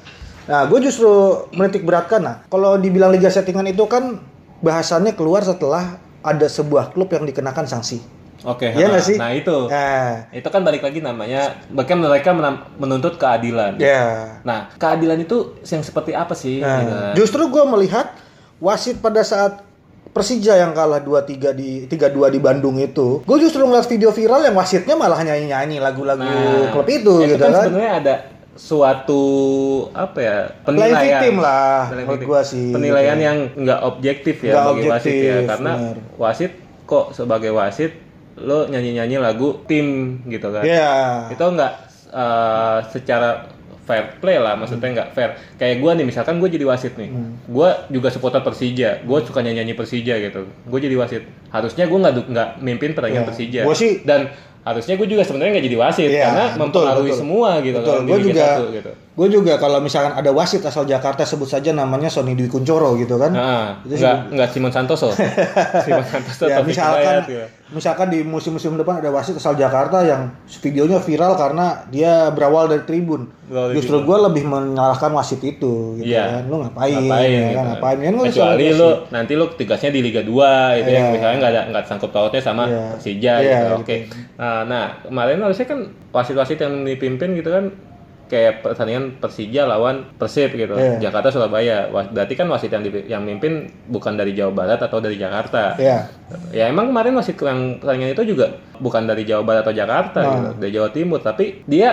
A: Nah, gue justru menitik beratkan nah. Kalau dibilang liga settingan itu kan bahasannya keluar setelah ada sebuah klub yang dikenakan sanksi.
B: Oke.
A: Iya nggak
B: nah,
A: sih?
B: Nah itu.
A: Nah,
B: Itu kan balik lagi namanya bahkan mereka menam- menuntut keadilan.
A: ya.
B: Nah, keadilan itu yang seperti apa sih?
A: Nah,
B: Gitu.
A: justru gue melihat wasit pada saat Persija yang kalah 2-3 di 3-2 di Bandung itu, gue justru ngeliat video viral yang wasitnya malah nyanyi-nyanyi lagu-lagu
B: Nah,
A: klub itu, gitu
B: kan,
A: kan.
B: sebenarnya ada suatu apa ya
A: Lain victim lah,
B: Lain
A: menurut
B: victim.
A: gua sih. gitu ya.
B: penilaian yang nggak objektif ya
A: Nggak
B: bagi
A: objektif,
B: wasit ya karena
A: benar.
B: wasit kok sebagai wasit lo
A: Iya,
B: nyanyi nyanyi lagu tim gitu kan
A: Ya.
B: itu nggak uh, eh, secara fair play lah maksudnya nggak fair kayak gue nih misalkan gue jadi wasit nih
A: Hmm.
B: gue juga supporter Persija gue suka nyanyi nyanyi Persija gitu gue jadi wasit harusnya gue nggak du- nggak mimpin
A: Ya,
B: pertandingan Persija
A: gua sih-
B: dan harusnya gue juga sebenarnya nggak jadi wasit
A: Iya,
B: karena
A: betul,
B: mempengaruhi
A: betul.
B: semua gitu
A: Betul,
B: kan, di
A: gue
B: Liga
A: juga
B: Satu, gitu.
A: gue juga kalau misalkan ada wasit asal Jakarta sebut saja namanya Sony Dwi Kuncoro gitu kan
B: Nah,
A: Itu
B: nggak nggak Simon Santoso Simon Santoso
A: ya,
B: Taufik
A: misalkan
B: Hidayat, gitu.
A: misalkan di musim-musim depan ada wasit asal Jakarta yang videonya viral karena dia berawal dari tribun.
B: Berawal dari
A: Justru gue lebih menyalahkan wasit itu, gitu
B: Iya.
A: kan. Lu ngapain?
B: ngapain,
A: ya
B: gitu
A: kan?
B: kan.
A: Ngapain? Kan lu
B: kecuali
A: salah
B: lu
A: wasit.
B: nanti lu tugasnya di Liga 2 gitu
A: Iya.
B: ya misalnya nggak ada nggak sangkut pautnya sama
A: Iya.
B: Persija
A: Iya,
B: gitu
A: gitu.
B: oke nah, nah kemarin harusnya kan wasit-wasit yang dipimpin gitu kan kayak pertandingan Persija lawan Persib gitu
A: Iya.
B: Jakarta Surabaya Wa- berarti kan wasit yang dipi- yang mimpin bukan dari Jawa Barat atau dari Jakarta
A: Iya.
B: Ya emang kemarin wasit yang pertandingan itu juga bukan dari Jawa Barat atau Jakarta
A: Nah.
B: gitu, dari Jawa Timur, tapi dia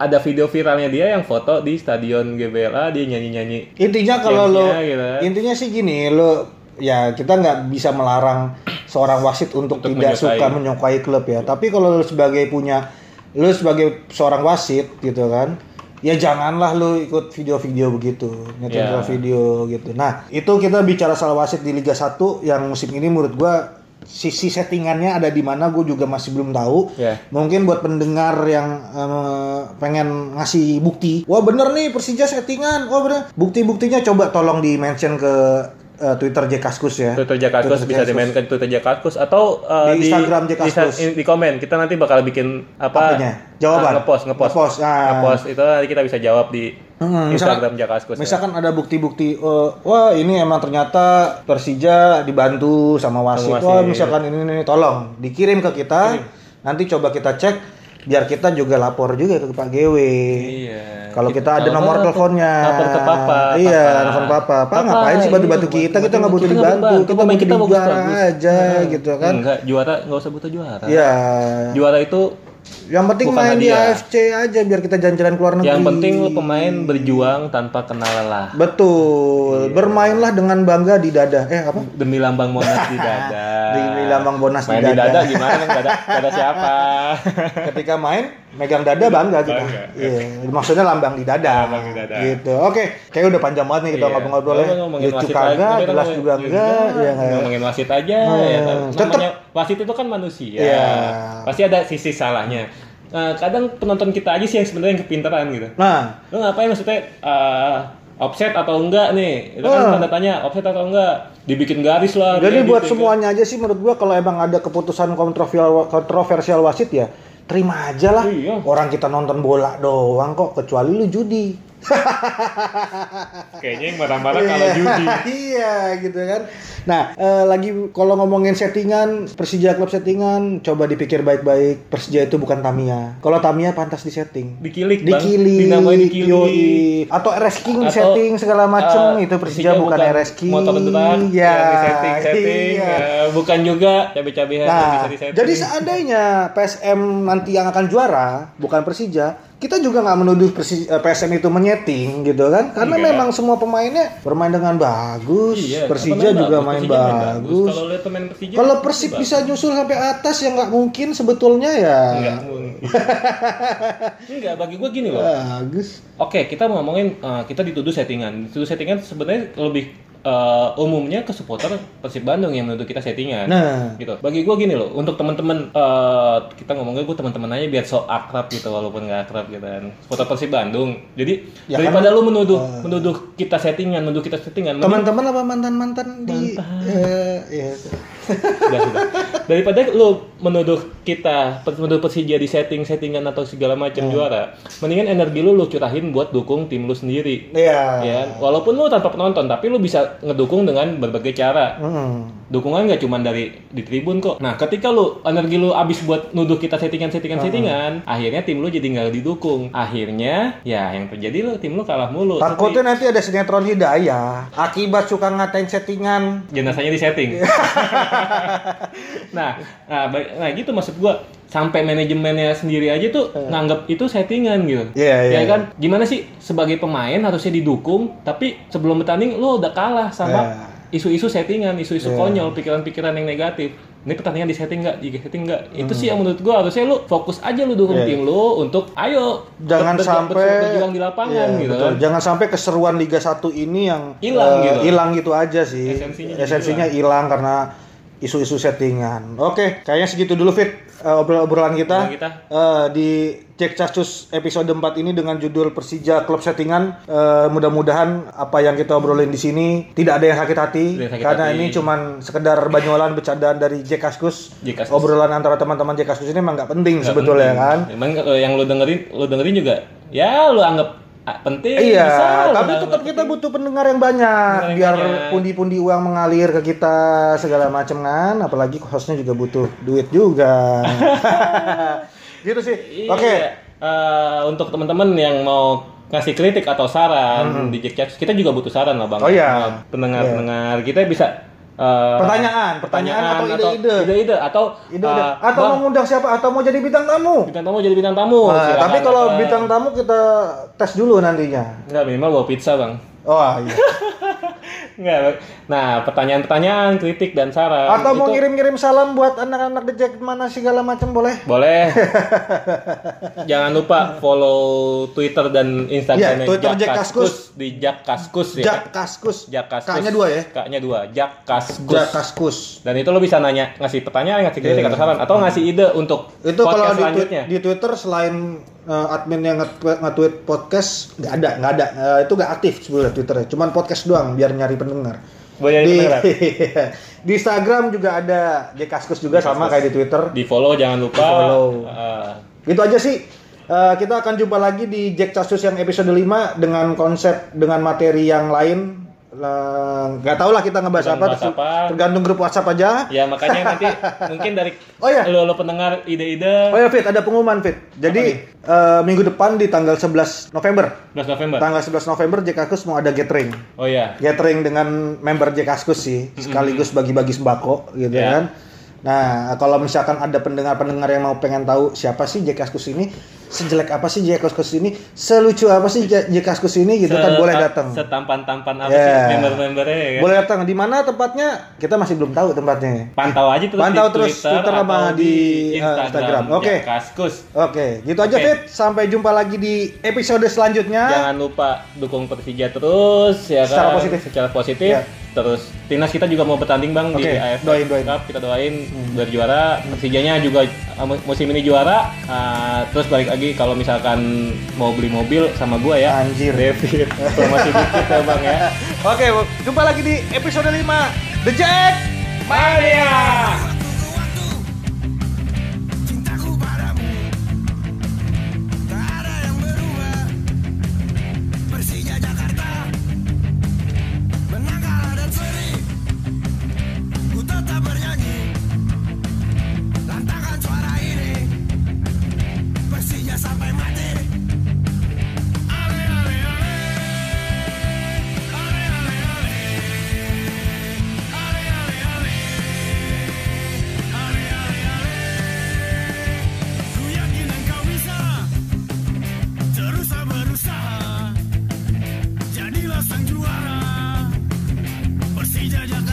B: ada video viralnya dia yang foto di stadion GBLA dia nyanyi-nyanyi.
A: Intinya kalau lu
B: Gamenya, gitu.
A: intinya sih gini, lu ya kita nggak bisa melarang seorang wasit untuk,
B: Untuk
A: tidak
B: menyukai.
A: suka menyukai klub ya. Tapi kalau lu sebagai punya lu sebagai seorang wasit gitu kan. Ya janganlah lu ikut video-video begitu, nyetel
B: Ya.
A: video gitu. Nah, itu kita bicara soal wasit di Liga 1 yang musim ini menurut gua sisi settingannya ada di mana gue juga masih belum tahu.
B: Ya.
A: Mungkin buat pendengar yang eh, pengen ngasih bukti, wah bener nih Persija settingan, wah bener. Bukti-buktinya coba tolong di mention ke eh, Twitter Jekaskus ya.
B: Twitter Jakarta bisa
A: Jekaskus.
B: dimainkan Twitter Jakarta atau uh,
A: Di Instagram
B: di,
A: Jakarta.
B: di, di komen kita nanti bakal bikin apa
A: Apanya? Jawaban?
B: Ah, ngepost ngepost
A: Ngepost, ah.
B: Ngepost, itu nanti kita bisa jawab di
A: Hmm,
B: Instagram Jakarta
A: Misalkan ada bukti-bukti, eh, wah ini emang ternyata Persija dibantu sama wasit.
B: Sama wasit.
A: Wah misalkan ini, ini, ini, tolong dikirim ke kita. Nanti coba kita cek, biar kita juga lapor juga ke Pak GW.
B: Iya.
A: Kalau kita ada
B: Kalau
A: nomor
B: nggak,
A: teleponnya.
B: Telepon ke papa.
A: Iya, telepon papa. Pak ngapain sih bantu-bantu
B: ini,
A: kita? Kita nggak butuh
B: iya, kita nggak
A: dibantu. Kita
B: main
A: butuh dijuara aja,
B: Nah,
A: gitu kan.
B: Enggak, juara nggak usah butuh juara.
A: Iya.
B: Juara itu
A: Yang penting
B: Bukan
A: main di
B: hadiah.
A: AFC aja biar kita jalan-jalan keluar negeri.
B: yang penting lu pemain berjuang tanpa kenal lelah. Iya.
A: Betul. Bermainlah dengan bangga di dada. Eh apa?
B: Demi lambang Monas di dada.
A: Demi lambang Monas di
B: main di
A: dada.
B: dada. gimana kan dada, dada siapa?
A: Ketika main megang dada bangga kita.
B: Bangga. Ah,
A: Iya, maksudnya lambang di dada.
B: Lambang di dada.
A: Gitu. Oke, kayak udah panjang banget nih kita
B: Iya.
A: ngobrol-ngobrol ya.
B: Ngomong- ngomongin
A: Lucu
B: wasit aja,
A: kagak,
B: kita
A: jelas
B: ngomongin-
A: juga enggak, ya nggak?
B: ngomongin wasit aja ya kan.
A: Hmm, tetep-
B: namanya wasit itu kan manusia
A: Iya.
B: pasti ada sisi salahnya Nah, kadang penonton kita aja sih yang sebenarnya yang kepintaran gitu
A: Nah,
B: lu ngapain maksudnya eh, offset atau enggak nih itu
A: Ah.
B: kan tanda tanya offset atau enggak dibikin garis lah
A: Jadi
B: diedit,
A: buat
B: ya kan.
A: semuanya aja sih menurut gua kalau emang ada keputusan kontroversial kontroversial wasit ya terima aja lah.
B: Iya.
A: Orang kita nonton bola doang kok kecuali lu judi.
B: kayaknya yang marah-marah kalau judi
A: iya gitu kan. Nah, eh, lagi kalau ngomongin settingan Persija klub settingan coba dipikir baik-baik. Persija itu bukan Tamia. Kalau Tamia pantas disetting.
B: dikilik bang
A: Dikilik,
B: dinamai dikilik
A: yoi. atau RS King
B: Atau,
A: disetting segala macem
B: Eh,
A: itu Persija bukan, RS King.
B: motor beneran
A: ya,
B: yang disetting setting ya,
A: iya.
B: bukan juga cabai-cabian yang
A: Nah,
B: Iya, bisa Iya, disetting
A: jadi seandainya PSM nanti yang akan juara bukan Persija, kita juga nggak menuduh Persi- eh, PSM itu menyeting gitu kan? Karena
B: Enggak.
A: memang semua pemainnya bermain dengan bagus,
B: Iya,
A: Persija
B: apa
A: juga
B: bagus,
A: main
B: Persija
A: bagus.
B: Kalau lihat pemain Persija
A: Kalau Persib
B: bagus.
A: bisa nyusul sampai atas ya nggak mungkin sebetulnya ya.
B: enggak mungkin. enggak bagi gue gini loh.
A: Bagus.
B: Oke, kita mau ngomongin eh, kita dituduh settingan. Dituduh settingan sebenarnya lebih eh, umumnya ke supporter Persib Bandung yang menuduh kita settingan.
A: Nah,
B: gitu. Bagi gue gini loh, untuk teman-teman eh, kita ngomongnya gue teman-teman aja biar so akrab gitu walaupun nggak akrab gitu kan. Supporter Persib Bandung. Jadi
A: Ya kan,
B: daripada lu menuduh menuduh kita settingan, menuduh kita settingan, mending-
A: teman-teman apa mantan-mantan di eh, ya.
B: Sudah, sudah. Daripada lu menuduh kita, menuduh Persija di setting-settingan atau segala macam
A: Nah.
B: juara, mendingan energi lu lu curahin buat dukung tim lu sendiri.
A: Iya.
B: Ya, walaupun lu tanpa penonton, tapi lu bisa ngedukung dengan berbagai cara.
A: Mm.
B: Dukungan nggak cuma dari di tribun kok. Nah, ketika lu energi lu habis buat nuduh kita settingan-settingan-settingan, akhirnya tim lu jadi nggak didukung. Akhirnya, ya yang terjadi lu tim lu kalah mulu.
A: Takutnya nanti ada sinetron Hidayah akibat suka ngatain settingan
B: jenazahnya di setting.
A: Iya.
B: nah, nah, baik- nah gitu maksud gua sampai manajemennya sendiri aja tuh nganggap itu settingan gitu.
A: Iya, iya,
B: Ya kan? Gimana sih sebagai pemain harusnya didukung, tapi sebelum bertanding lo udah kalah sama
A: Iya.
B: isu-isu settingan, isu-isu konyol, pikiran-pikiran yang negatif. Ini pertandingan di setting nggak, di setting nggak. Itu sih yang menurut gua harusnya lu fokus aja lu dukung
A: Hmm. Iya.
B: tim lu untuk ayo
A: jangan
B: ber- ber-
A: sampai
B: berjuang di lapangan
A: Iya,
B: gitu
A: betul.
B: kan.
A: jangan sampai keseruan Liga 1 ini yang
B: Hilang
A: eh,
B: gitu.
A: hilang gitu aja sih
B: Esensinya jadi
A: esensinya hilang karena isu-isu settingan oke kayaknya segitu dulu fit eh, obrol- obrolan kita,
B: Obrolan Nah, kita.
A: Eh, di Cek Casus episode 4 ini dengan judul Persija Klub Settingan Eh, mudah-mudahan apa yang kita obrolin di sini tidak ada yang sakit hati
B: Tidak sakit
A: karena
B: hati.
A: ini cuman sekedar banyolan bercandaan dari Jack Kaskus
B: Jack Kaskus.
A: obrolan antara teman-teman Jack Kaskus ini emang nggak penting
B: Nggak
A: sebetulnya
B: penting.
A: kan
B: Emang kalau yang lu dengerin, lu dengerin juga. Ya lu anggap ah, penting.
A: Iya,
B: bisa, lu
A: tapi
B: anggap
A: tetap kita
B: penting.
A: butuh pendengar yang banyak
B: Pendengar yang
A: biar
B: banyak.
A: pundi-pundi uang mengalir ke kita segala macam kan, apalagi hostnya juga butuh duit juga. gitu sih.
B: Iya.
A: Oke.
B: Eh, untuk teman-teman yang mau ngasih kritik atau saran di Jack Chat, kita juga butuh saran lah bang.
A: Hmm. Oh, iya.
B: Nah, Pendengar-pendengar kita bisa eh,
A: Pertanyaan, pertanyaan atau ide-ide.
B: ide-ide atau,
A: Ide udah.
B: eh,
A: Atau
B: Bang,
A: mau ngundang siapa atau mau jadi bintang tamu?
B: bintang tamu jadi bintang tamu.
A: Nah,
B: Oh, Silakan,
A: tapi kalau
B: silakan.
A: bintang tamu kita tes dulu nantinya.
B: Nggak, minimal bawa pizza bang.
A: Oh iya.
B: Nggak, Bang. Nah pertanyaan-pertanyaan, kritik dan saran.
A: Atau mau
B: itu-
A: ngirim-ngirim salam buat anak-anak The Jack mana segala macam boleh?
B: Boleh. Jangan lupa follow Twitter dan
A: Iya,
B: Instagramnya
A: Twitter Jack Kaskus.
B: di Jack Kaskus ya.
A: Jack Kaskus.
B: Jack Kaskus.
A: Kaknya dua ya.
B: Kaknya dua, Jack Kaskus.
A: Jack Kaskus.
B: Dan itu lo bisa nanya, ngasih pertanyaan, ngasih kritik atau saran atau ngasih ide untuk
A: itu kalau
B: podcast
A: di, twi-
B: selanjutnya.
A: di Twitter selain eh, admin yang nge- nge-tweet podcast nggak ada nggak ada Eh, itu nggak aktif sebenarnya Twitternya cuman podcast doang biar nyari pendengar
B: Biar nyari
A: di,
B: pendengar.
A: di Instagram juga ada Jekaskus juga sama kayak di Twitter
B: Di follow jangan lupa.
A: Di follow.
B: Eh,
A: itu aja sih Eh, kita akan jumpa lagi di Jack Casus yang episode 5 dengan konsep dengan materi yang lain Eh, nggak tahu lah kita ngebahas
B: Kita
A: apa,
B: ngebahas apa.
A: tergantung grup WhatsApp aja
B: ya makanya nanti mungkin dari
A: Oh, iya.
B: lo lo pendengar
A: Oh
B: ide-ide
A: ya Fit, ada pengumuman Fit. Jadi eh, minggu depan di tanggal 11 November
B: 11 November.
A: Tanggal 11 November Jekaskus mau ada gathering.
B: Oh iya.
A: Gathering dengan member Jekaskus sih, sekaligus bagi-bagi sembako gitu
B: Ya.
A: kan. Nah, kalau misalkan ada pendengar-pendengar yang mau pengen tahu siapa sih Jekaskus ini, sejelek apa sih Jekaskus ini, selucu apa sih Je- Jekaskus ini gitu kan boleh
B: Seta-
A: datang.
B: Setampan-tampan apa
A: Ya.
B: sih member-membernya ya kan?
A: Boleh datang di mana tempatnya? Kita masih belum tahu tempatnya.
B: Pantau aja terus
A: Pantau
B: di
A: terus
B: Twitter,
A: Twitter sama
B: atau
A: di,
B: di
A: eh,
B: Instagram.
A: Instagram. Oke.
B: Ya, Kaskus.
A: Oke, gitu aja
B: Oke.
A: Fit. Sampai jumpa lagi di episode selanjutnya.
B: Jangan lupa dukung Persija terus ya
A: Secara
B: kan.
A: positif.
B: Secara positif.
A: Ya.
B: Terus timnas kita juga mau bertanding Bang
A: Oke,
B: di AFF
A: doain, doain. Hmm.
B: Cup. Kita doain biar juara. Persijanya juga uh, mu- musim ini juara. Uh, terus balik lagi kalau misalkan mau beli mobil sama gua ya.
A: Anjir.
B: David. Promosi dikit ya Bang ya.
A: Oke, jumpa lagi di episode 5 The Jack
B: Mania!
C: Waktu-waktu cintaku padamu tak ada yang berubah. Persija Jakarta menang kalah dan seri. Ku tetap bernyanyi lantangkan suara ini. Persija sampai mati. Ale ale ale, ale ale ale, ale ale ale. Ale, ale, ale. Ku yakin engkau bisa Teruslah berusaha Jadilah sang juara Persija Jakarta